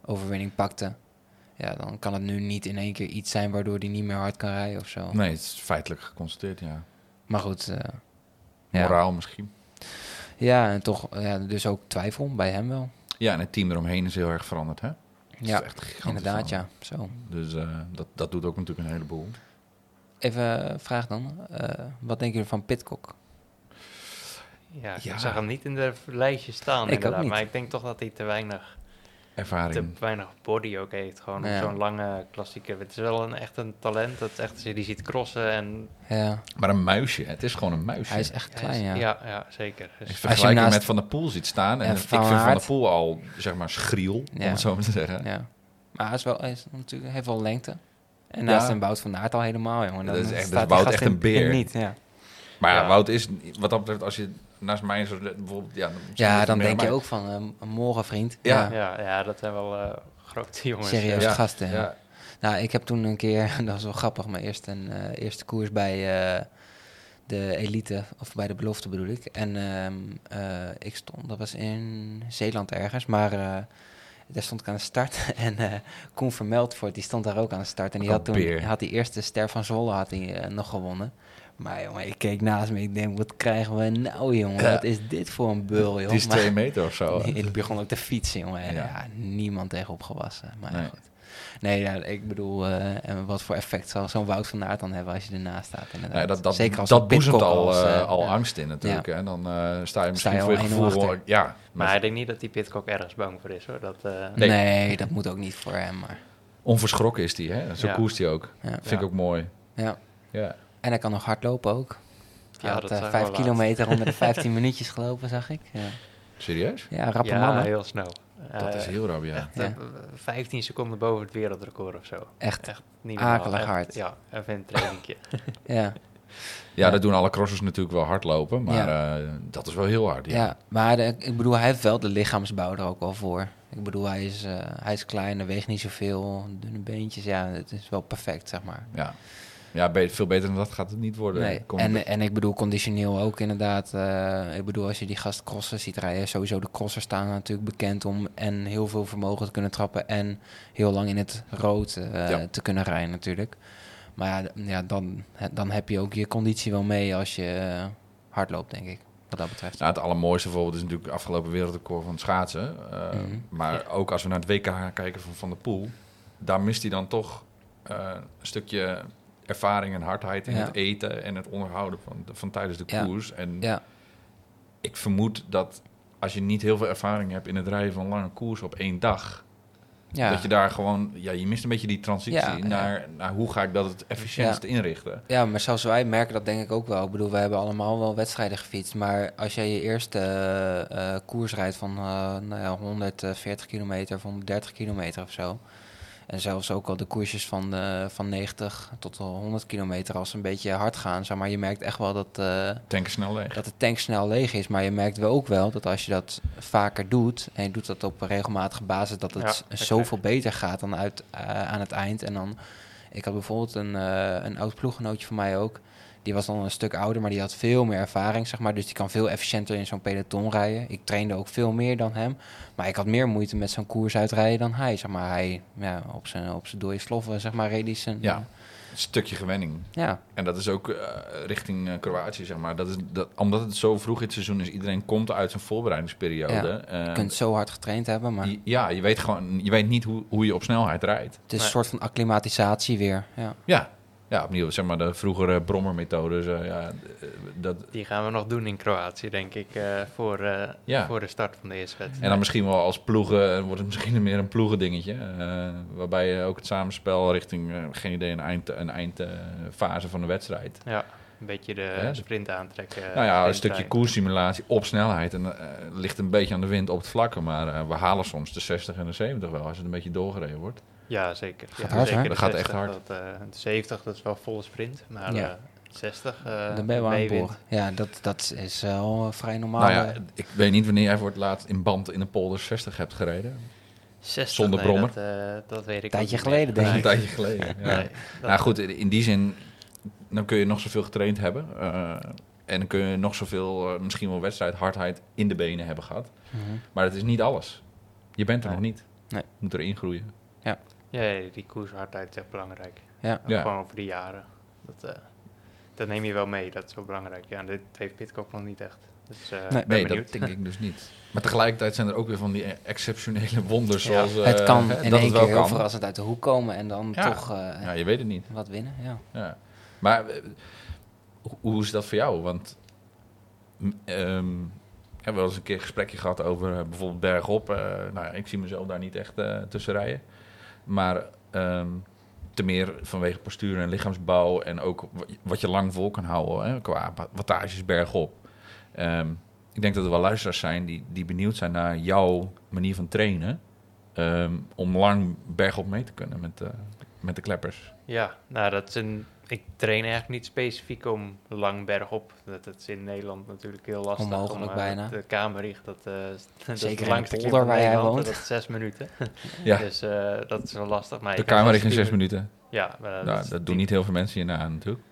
B: overwinning pakte, ja, dan kan het nu niet in één keer iets zijn waardoor hij niet meer hard kan rijden of
C: eh,
B: zo.
A: nee, het is feitelijk geconstateerd, ja.
B: Maar goed, eh, ja.
A: Moraal misschien.
B: ja, en toch, ja, dus ook twijfel bij hem wel.
A: Ja, en het team eromheen is heel erg veranderd, hè? Het
B: Ja,
A: is echt gigantisch
B: inderdaad,
A: veranderd.
B: ja, zo.
A: Dus eh, dat, dat doet ook natuurlijk een heleboel.
B: Even eh, vraag dan, eh, wat denken jullie van Pitcock?
C: Ja,
A: Ja.
C: Ik zag hem niet in de lijstje staan,
B: Ik ook
C: inderdaad.
B: niet.
C: Maar ik denk toch dat hij te weinig, te
A: Ervaring.
C: weinig body ook heeft. Gewoon op
B: Ja.
C: zo'n lange klassieker. Het is wel een, echt een talent. Dat is echt, als je die ziet crossen en...
B: Ja,
A: Maar een muisje, het is gewoon een muisje.
B: hij is echt klein,
C: ja.
B: ja.
C: Ja, zeker.
A: Ik
C: Dus-
B: Als je hem
A: vergelijk hem
B: naast-
A: met Van der Poel ziet staan. En
B: Ja,
A: ik
B: Van
A: vind Van
B: Aert.
A: der Poel al, zeg maar, schriel,
B: Ja.
A: om het zo maar te zeggen.
B: Ja. Maar hij, is wel, hij is natuurlijk, hij heeft wel lengte. En
A: Ja.
B: naast een Wout van Aert al helemaal, jongen. Dan
A: Dat is echt-
B: staat
A: dat is
B: die
A: Wout
B: gast
A: echt
B: in-
A: een beer.
B: in Niet, ja.
A: Maar ja,
C: Ja.
A: Wout is, wat dat betreft, als je naast mij zo bijvoorbeeld... Ja, misschien is
B: ja, dan
A: het
B: denk
A: meer,
B: je
A: maar-
B: ook van, eh, een morgenvriend.
A: Ja.
B: Ja,
C: Ja, ja, dat zijn wel eh, grote jongens.
B: serieus
A: Ja.
B: gasten. ja.
A: Ja,
B: Nou, ik heb toen een keer, dat was wel grappig, mijn eerste, een, eh, eerste koers bij eh, de elite, of bij de belofte bedoel ik. En ehm, eh, ik stond, dat was in Zeeland ergens, maar eh, daar stond ik aan de start. en eh Koen Vermeldvoort, die stond daar ook aan de start. En die
A: Ook
B: had
A: een
B: toen,
A: Oh, beer.
B: had die eerste Ster van Zwolle had hij, eh, nog gewonnen. Maar jongen, ik keek naast me, ik denk, wat krijgen we nou jongen?
A: Ja.
B: Wat is dit voor een bul, joh?
A: het is
B: Maar-
A: twee meter of zo.
B: Nee, ik begon ook te fietsen, jongen. En ja.
A: Ja.
B: niemand tegen opgewassen. Maar ja,
A: Nee.
B: goed. Nee, ja, ik bedoel, eh, en wat voor effect zal zo'n Wout van Aert dan hebben als je ernaast staat? Inderdaad.
A: Ja, dat dat,
B: Zeker als een
A: dat
B: Pidcock
A: boezemt al,
B: als,
A: eh,
B: eh,
A: al
B: ja.
A: angst in natuurlijk. En dan eh, sta je misschien
B: je al
A: voor je
B: 1-0
A: gevoel...
B: achter.
A: hoor- Ja,
C: Maar
A: maar
C: ik denk niet dat die Pitcock ergens bang voor is, hoor. Dat, eh,
B: Nee.
A: Nee.
B: dat moet ook niet voor hem. Maar,
A: onverschrokken is die, hè? Zo
C: Ja.
A: koerst hij ook.
B: ja.
A: Vind ik ook mooi.
B: Ja.
A: Ja.
B: En hij kan nog hard lopen ook. Hij
C: Ja,
B: had
C: dat
B: eh,
C: zag ik
B: vijf
C: wel laatst.
B: kilometer onder de 15 minuutjes gelopen, zag ik. Ja,
A: Serieus?
B: ja rappe
C: ja,
B: mannen.
C: heel snel.
A: Dat
C: Eh,
A: is heel rap, ja.
C: Echt, eh, 15 seconden boven het wereldrecord of zo.
B: Echt.
C: Echt niet normaal.
B: Akelig
C: Echt,
B: hard.
C: Ja, even een trainingje.
B: Ja.
A: Ja, dat doen alle crossers natuurlijk wel hardlopen. Maar eh, dat is wel heel hard,
B: Ja,
A: ja.
B: maar de- ik bedoel, hij heeft wel de lichaamsbouw er ook wel voor. Ik bedoel, hij is, eh, hij is klein, hij weegt niet zoveel, dunne beentjes. Ja, het is wel perfect, zeg maar.
A: Ja, ja be- veel beter dan dat gaat het niet worden.
B: Nee.
A: Kom-
B: En, eh, en ik bedoel, conditioneel ook inderdaad. eh, ik bedoel, als je die gast crossen ziet rijden, sowieso de crossers staan natuurlijk bekend om en heel veel vermogen te kunnen trappen en heel lang in het rood eh,
A: Ja.
B: te kunnen rijden natuurlijk. Maar ja, d- ja dan, dan heb je ook je conditie wel mee als je eh, hard loopt, denk ik, wat dat betreft.
A: nou, het allermooiste voorbeeld is natuurlijk het afgelopen wereldrecord van het schaatsen. Eh,
B: Mhm.
A: Maar ook als we naar het WK kijken van Van der Poel, daar mist hij dan toch eh, een stukje ervaring en hardheid in
B: Ja.
A: het eten en het onderhouden van, van tijdens de
B: Ja.
A: koers. En
B: Ja,
A: ik vermoed dat als je niet heel veel ervaring hebt in het rijden van lange koers op één dag,
B: ja.
A: dat je daar gewoon, ja, je mist een beetje die transitie
B: Ja, ja.
A: naar, naar hoe ga ik dat het efficiëntst inrichten.
B: Ja, maar zelfs wij merken dat denk ik ook wel. Ik bedoel, we hebben allemaal wel wedstrijden gefietst. Maar als jij je eerste eh, eh, koers rijdt van eh, nou ja, 140 kilometer of 130 kilometer of zo. En zelfs ook al de koersjes van, eh, van 90 tot wel 100 kilometer als ze een beetje hard gaan. Zeg maar je merkt echt wel dat, eh,
A: Tanken snel leeg.
B: dat de tank snel leeg is. Maar je merkt wel ook wel dat als je dat vaker doet. En je doet dat op een regelmatige basis. Dat het
C: Ja,
B: z-
C: dat
B: zoveel beter gaat dan uit, eh, aan het eind. En dan ik had bijvoorbeeld een, eh, een oud ploeggenootje van mij ook. Die was dan een stuk ouder, maar die had veel meer ervaring, zeg maar. Dus die kan veel efficiënter in zo'n peloton rijden. Ik trainde ook veel meer dan hem. Maar ik had meer moeite met zo'n koers uitrijden dan hij, zeg maar. Hij, ja, op zijn, op zijn dode sloffen, zeg maar, reed hij zijn...
A: Ja. stukje gewenning.
B: Ja,
A: En dat is ook eh, richting eh, Kroatië, zeg maar. Dat is, dat, omdat het zo vroeg in het seizoen is, iedereen komt uit zijn voorbereidingsperiode.
B: Ja,
A: Eh,
B: je kunt zo hard getraind hebben, maar
A: je- ja, je weet gewoon, je weet niet hoe, hoe je op snelheid rijdt.
B: het is een
C: Nee.
B: soort van acclimatisatie weer. Ja.
A: Ja, ja opnieuw, zeg maar de vroegere brommermethodes. eh, ja, eh, dat,
C: Die gaan we nog doen in Kroatië, denk ik, eh, voor, eh,
A: Ja.
C: voor de start van de eerste wedstrijd.
A: en dan misschien wel als ploegen, eh, wordt het misschien meer een ploegendingetje. eh, waarbij je ook het samenspel richting, eh, geen idee, een eindfase een eind, eh, fase van de wedstrijd.
C: Ja, een beetje de
A: Hè?
C: sprint aantrekken.
A: Nou ja, een
C: sprint
A: stukje
C: rijden.
A: koerssimulatie op snelheid. En eh, ligt een beetje aan de wind op het vlakke. Maar eh, we halen soms de 60 en de 70 wel als het een beetje doorgereden wordt.
C: Ja, zeker.
B: Gaat
C: ja,
B: hard,
C: zeker
B: hè?
A: Dat
C: de
A: gaat echt
C: 60,
A: hard.
C: Dat, eh, de 70, dat is wel volle sprint. Maar
B: Ja.
C: eh, 60, eh
B: Dan ben je wel aan het
C: meewind.
B: boren. Ja, dat, dat is wel vrij normaal.
A: nou ja,
B: eh,
A: ik weet niet wanneer jij voor het laatst in band in de polder 60 hebt gereden.
C: 60,
A: Zonder
C: nee,
A: brommer.
C: Dat, eh, dat weet ik
B: Tijdje
C: ook niet meer.
B: geleden,
A: Dat
B: denk
A: is een
B: ik.
A: tijdje geleden. Ja.
C: Nee, nee, dat-
A: Nou goed, in die zin, dan kun je nog zoveel getraind hebben. eh, en dan kun je nog zoveel, eh, misschien wel wedstrijdhardheid in de benen hebben gehad.
B: mhm.
A: Maar het is niet alles. Je bent er
C: Nee.
A: nog niet.
B: Nee.
A: Je moet erin groeien.
C: Ja, ja, die koershardheid is echt belangrijk.
B: Ja.
C: Ook
A: Ja.
C: Gewoon over de jaren. Dat, eh, dat neem je wel mee, dat is wel belangrijk. Ja, en dit heeft Pitcock nog niet echt. Dus eh
B: Nee.
C: ben
A: Nee,
C: benieuwd.
A: dat denk ik dus niet. Maar tegelijkertijd zijn er ook weer van die eh, exceptionele wonders.
C: Ja.
A: Zoals, eh,
B: het kan
A: hè,
B: in
A: dat
B: één
A: het wel
B: keer heel
A: kan.
B: verrassend uit de hoek komen en dan
A: Ja.
B: toch eh,
A: Ja, je weet het niet.
B: wat winnen. Ja.
A: Ja. Maar eh, ho- hoe is dat voor jou? Want m, ehm, we hebben wel eens een keer een gesprekje gehad over eh, bijvoorbeeld bergop. Eh, nou, ja, ik zie mezelf daar niet echt eh, tussen rijden. Maar ehm te meer vanwege postuur en lichaamsbouw en ook wa- wat je lang vol kan houden hè, qua wa- wattages bergop. Ehm, ik denk dat er wel luisteraars zijn die, die benieuwd zijn naar jouw manier van trainen. ehm, om lang bergop mee te kunnen met, eh, met de kleppers.
C: Ja, nou dat is een... Ik train eigenlijk niet specifiek om lang bergop. Dat, dat is in Nederland natuurlijk heel lastig.
B: Onmogelijk
C: om, eh,
B: bijna.
C: De kamerricht, dat, eh dat is
B: Zeker in
C: het
B: de
C: langste klim
B: polder
C: van
B: waar jij
C: Nederland,
B: woont.
C: Dat is zes minuten.
A: Ja.
C: Dus eh, dat is wel lastig. Maar
A: De
C: je kan
A: kamer
C: vast
A: in zes
C: tien
A: minuten.
C: Ja, dus maar
A: nou,
C: is
A: dat doen niet heel veel mensen hierna natuurlijk.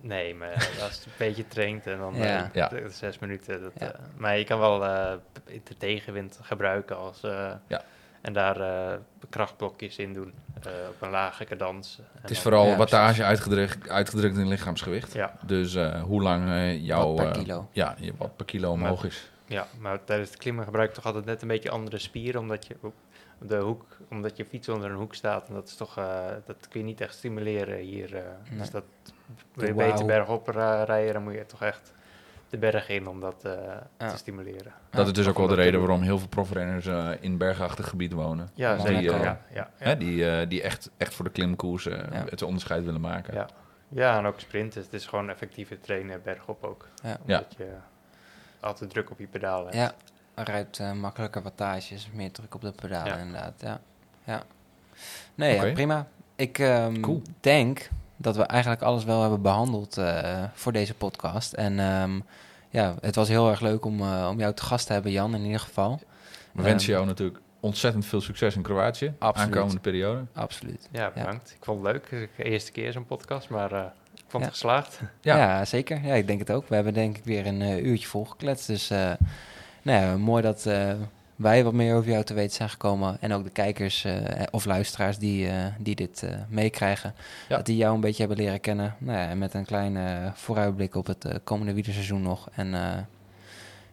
C: Nee, maar als je een beetje traint en dan eh,
B: Ja.
A: Ja.
C: de- de zes minuten. Dat,
B: Ja.
C: eh, maar je kan wel eh, de tegenwind gebruiken als, eh,
A: Ja.
C: en daar eh, krachtblokjes in doen eh, op een lage cadans. En
A: Het is
C: dan-
A: vooral
B: Ja,
A: wattage uitgedrukt, uitgedrukt in lichaamsgewicht.
C: Ja,
A: Dus eh, hoe lang eh, jouw...
B: Wat per
A: eh,
B: kilo.
A: ja, je- wat per kilo omhoog is.
C: ja, maar tijdens het klimmen gebruik je toch altijd net een beetje andere spieren, omdat je op de hoek, omdat je fiets onder een hoek staat. En dat is toch, eh, dat kun je niet echt stimuleren hier. eh.
B: Nee.
C: Dus dat wil je
B: wauw.
C: beter bergop ra- rijden, dan moet je toch echt de berg in om dat eh,
B: Ja.
C: te stimuleren.
A: Dat is dus
C: Ja,
A: ook wel de
C: dat
A: reden
C: doen.
A: waarom heel veel profrenners eh, in bergachtig gebied wonen.
C: Ja,
B: Monaco.
C: zeker. Ja,
A: eh,
C: ja, ja.
A: Hè, die eh, die echt, echt voor de klimkoers eh,
B: Ja.
A: het onderscheid willen maken.
C: Ja. Ja, en ook sprinten. Het is gewoon effectiever trainen bergop ook.
B: Ja.
C: Omdat je eh, altijd druk op je pedalen hebt.
B: Ja, rijdt eh, makkelijker wattages, meer druk op de pedalen
C: Ja.
B: inderdaad. Ja. ja. Nee, ja,
A: Oké.
B: prima. Ik ehm,
A: Cool.
B: denk dat we eigenlijk alles wel hebben behandeld eh, voor deze podcast. En ehm, ja, het was heel erg leuk om, eh, om jou te gast te hebben, Jan, in ieder geval.
A: We wensen
B: Ehm,
A: jou natuurlijk ontzettend veel succes in Kroatië.
B: Absoluut.
A: Aankomende periode.
B: Ehm, Absoluut.
C: Ja, bedankt. Ik vond het leuk. Het is de eerste keer zo'n podcast, maar eh, ik vond
B: Ja.
C: het geslaagd.
A: Ja.
B: Ja, zeker. Ja, ik denk het ook. We hebben denk ik weer een eh, uurtje volgekletst. Dus eh, nou ja, mooi dat eh, wij wat meer over jou te weten zijn gekomen. En ook de kijkers eh, of luisteraars die, eh, die dit eh, meekrijgen.
A: Ja.
B: Dat die jou een beetje hebben leren kennen. Nou ja, en met een kleine vooruitblik op het eh, komende wielerseizoen nog. En eh,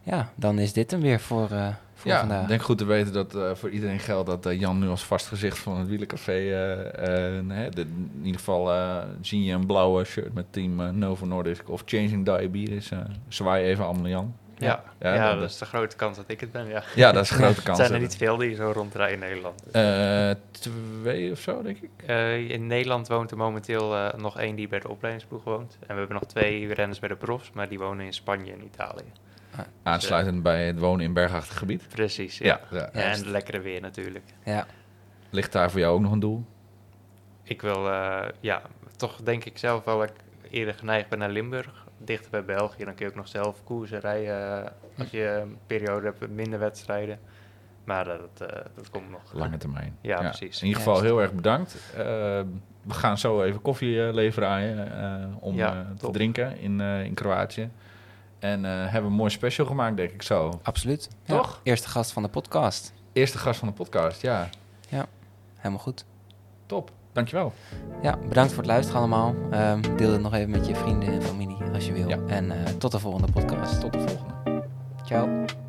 B: ja, dan is dit hem weer voor, eh, voor
A: Ja,
B: vandaag.
A: denk goed te weten dat eh, voor iedereen geldt dat eh, Jan nu als vast gezicht van het wielencafé... eh, eh, nee, de- in ieder geval eh, zie je een blauwe shirt met team eh, Novo Nordisk of Changing Diabetes. eh zwaai even allemaal naar Jan.
C: Ja,
A: Ja,
C: ja,
A: dan-
C: dat is de grote kans dat ik het ben. Ja.
A: Ja, dat is een grote
C: Het
A: kans.
C: zijn er niet veel die zo rondrijden in Nederland.
A: Eh, twee of zo, denk ik.
C: Eh, in Nederland woont er momenteel eh, nog één die bij de opleidingsploeg woont. En we hebben nog twee renners bij de profs, maar die wonen in Spanje en Italië.
A: Aansluitend bij het wonen in bergachtig gebied.
C: Precies, ja.
A: ja.
C: en
B: Juist.
C: het lekkere weer natuurlijk.
B: Ja,
A: Ligt daar voor jou ook nog een doel?
C: Ik wil, eh, ja, toch denk ik zelf wel dat ik eerder geneigd ben naar Limburg, dichter bij België. Dan kun je ook nog zelf koersen rijden eh, als je een periode hebt met minder wedstrijden. Maar eh, dat, eh, dat komt nog.
A: Lange termijn.
C: Ja, precies.
A: In ieder geval
B: Juist.
A: heel erg bedankt. Eh, we gaan zo even koffie eh, leveren aan je eh, om
C: Ja,
A: eh, te
C: top.
A: drinken in, eh, in Kroatië. En eh, hebben een mooi special gemaakt, denk ik zo.
B: absoluut. Ja,
A: Toch?
B: Eerste gast van de podcast.
A: Eerste gast van de podcast, ja.
B: Helemaal goed.
A: Top. Dankjewel.
B: Ja, bedankt voor het luisteren allemaal. Ehm, deel het nog even met je vrienden en familie als je wil.
A: Ja.
B: En eh, tot de volgende podcast.
A: Tot de volgende.
B: Ciao.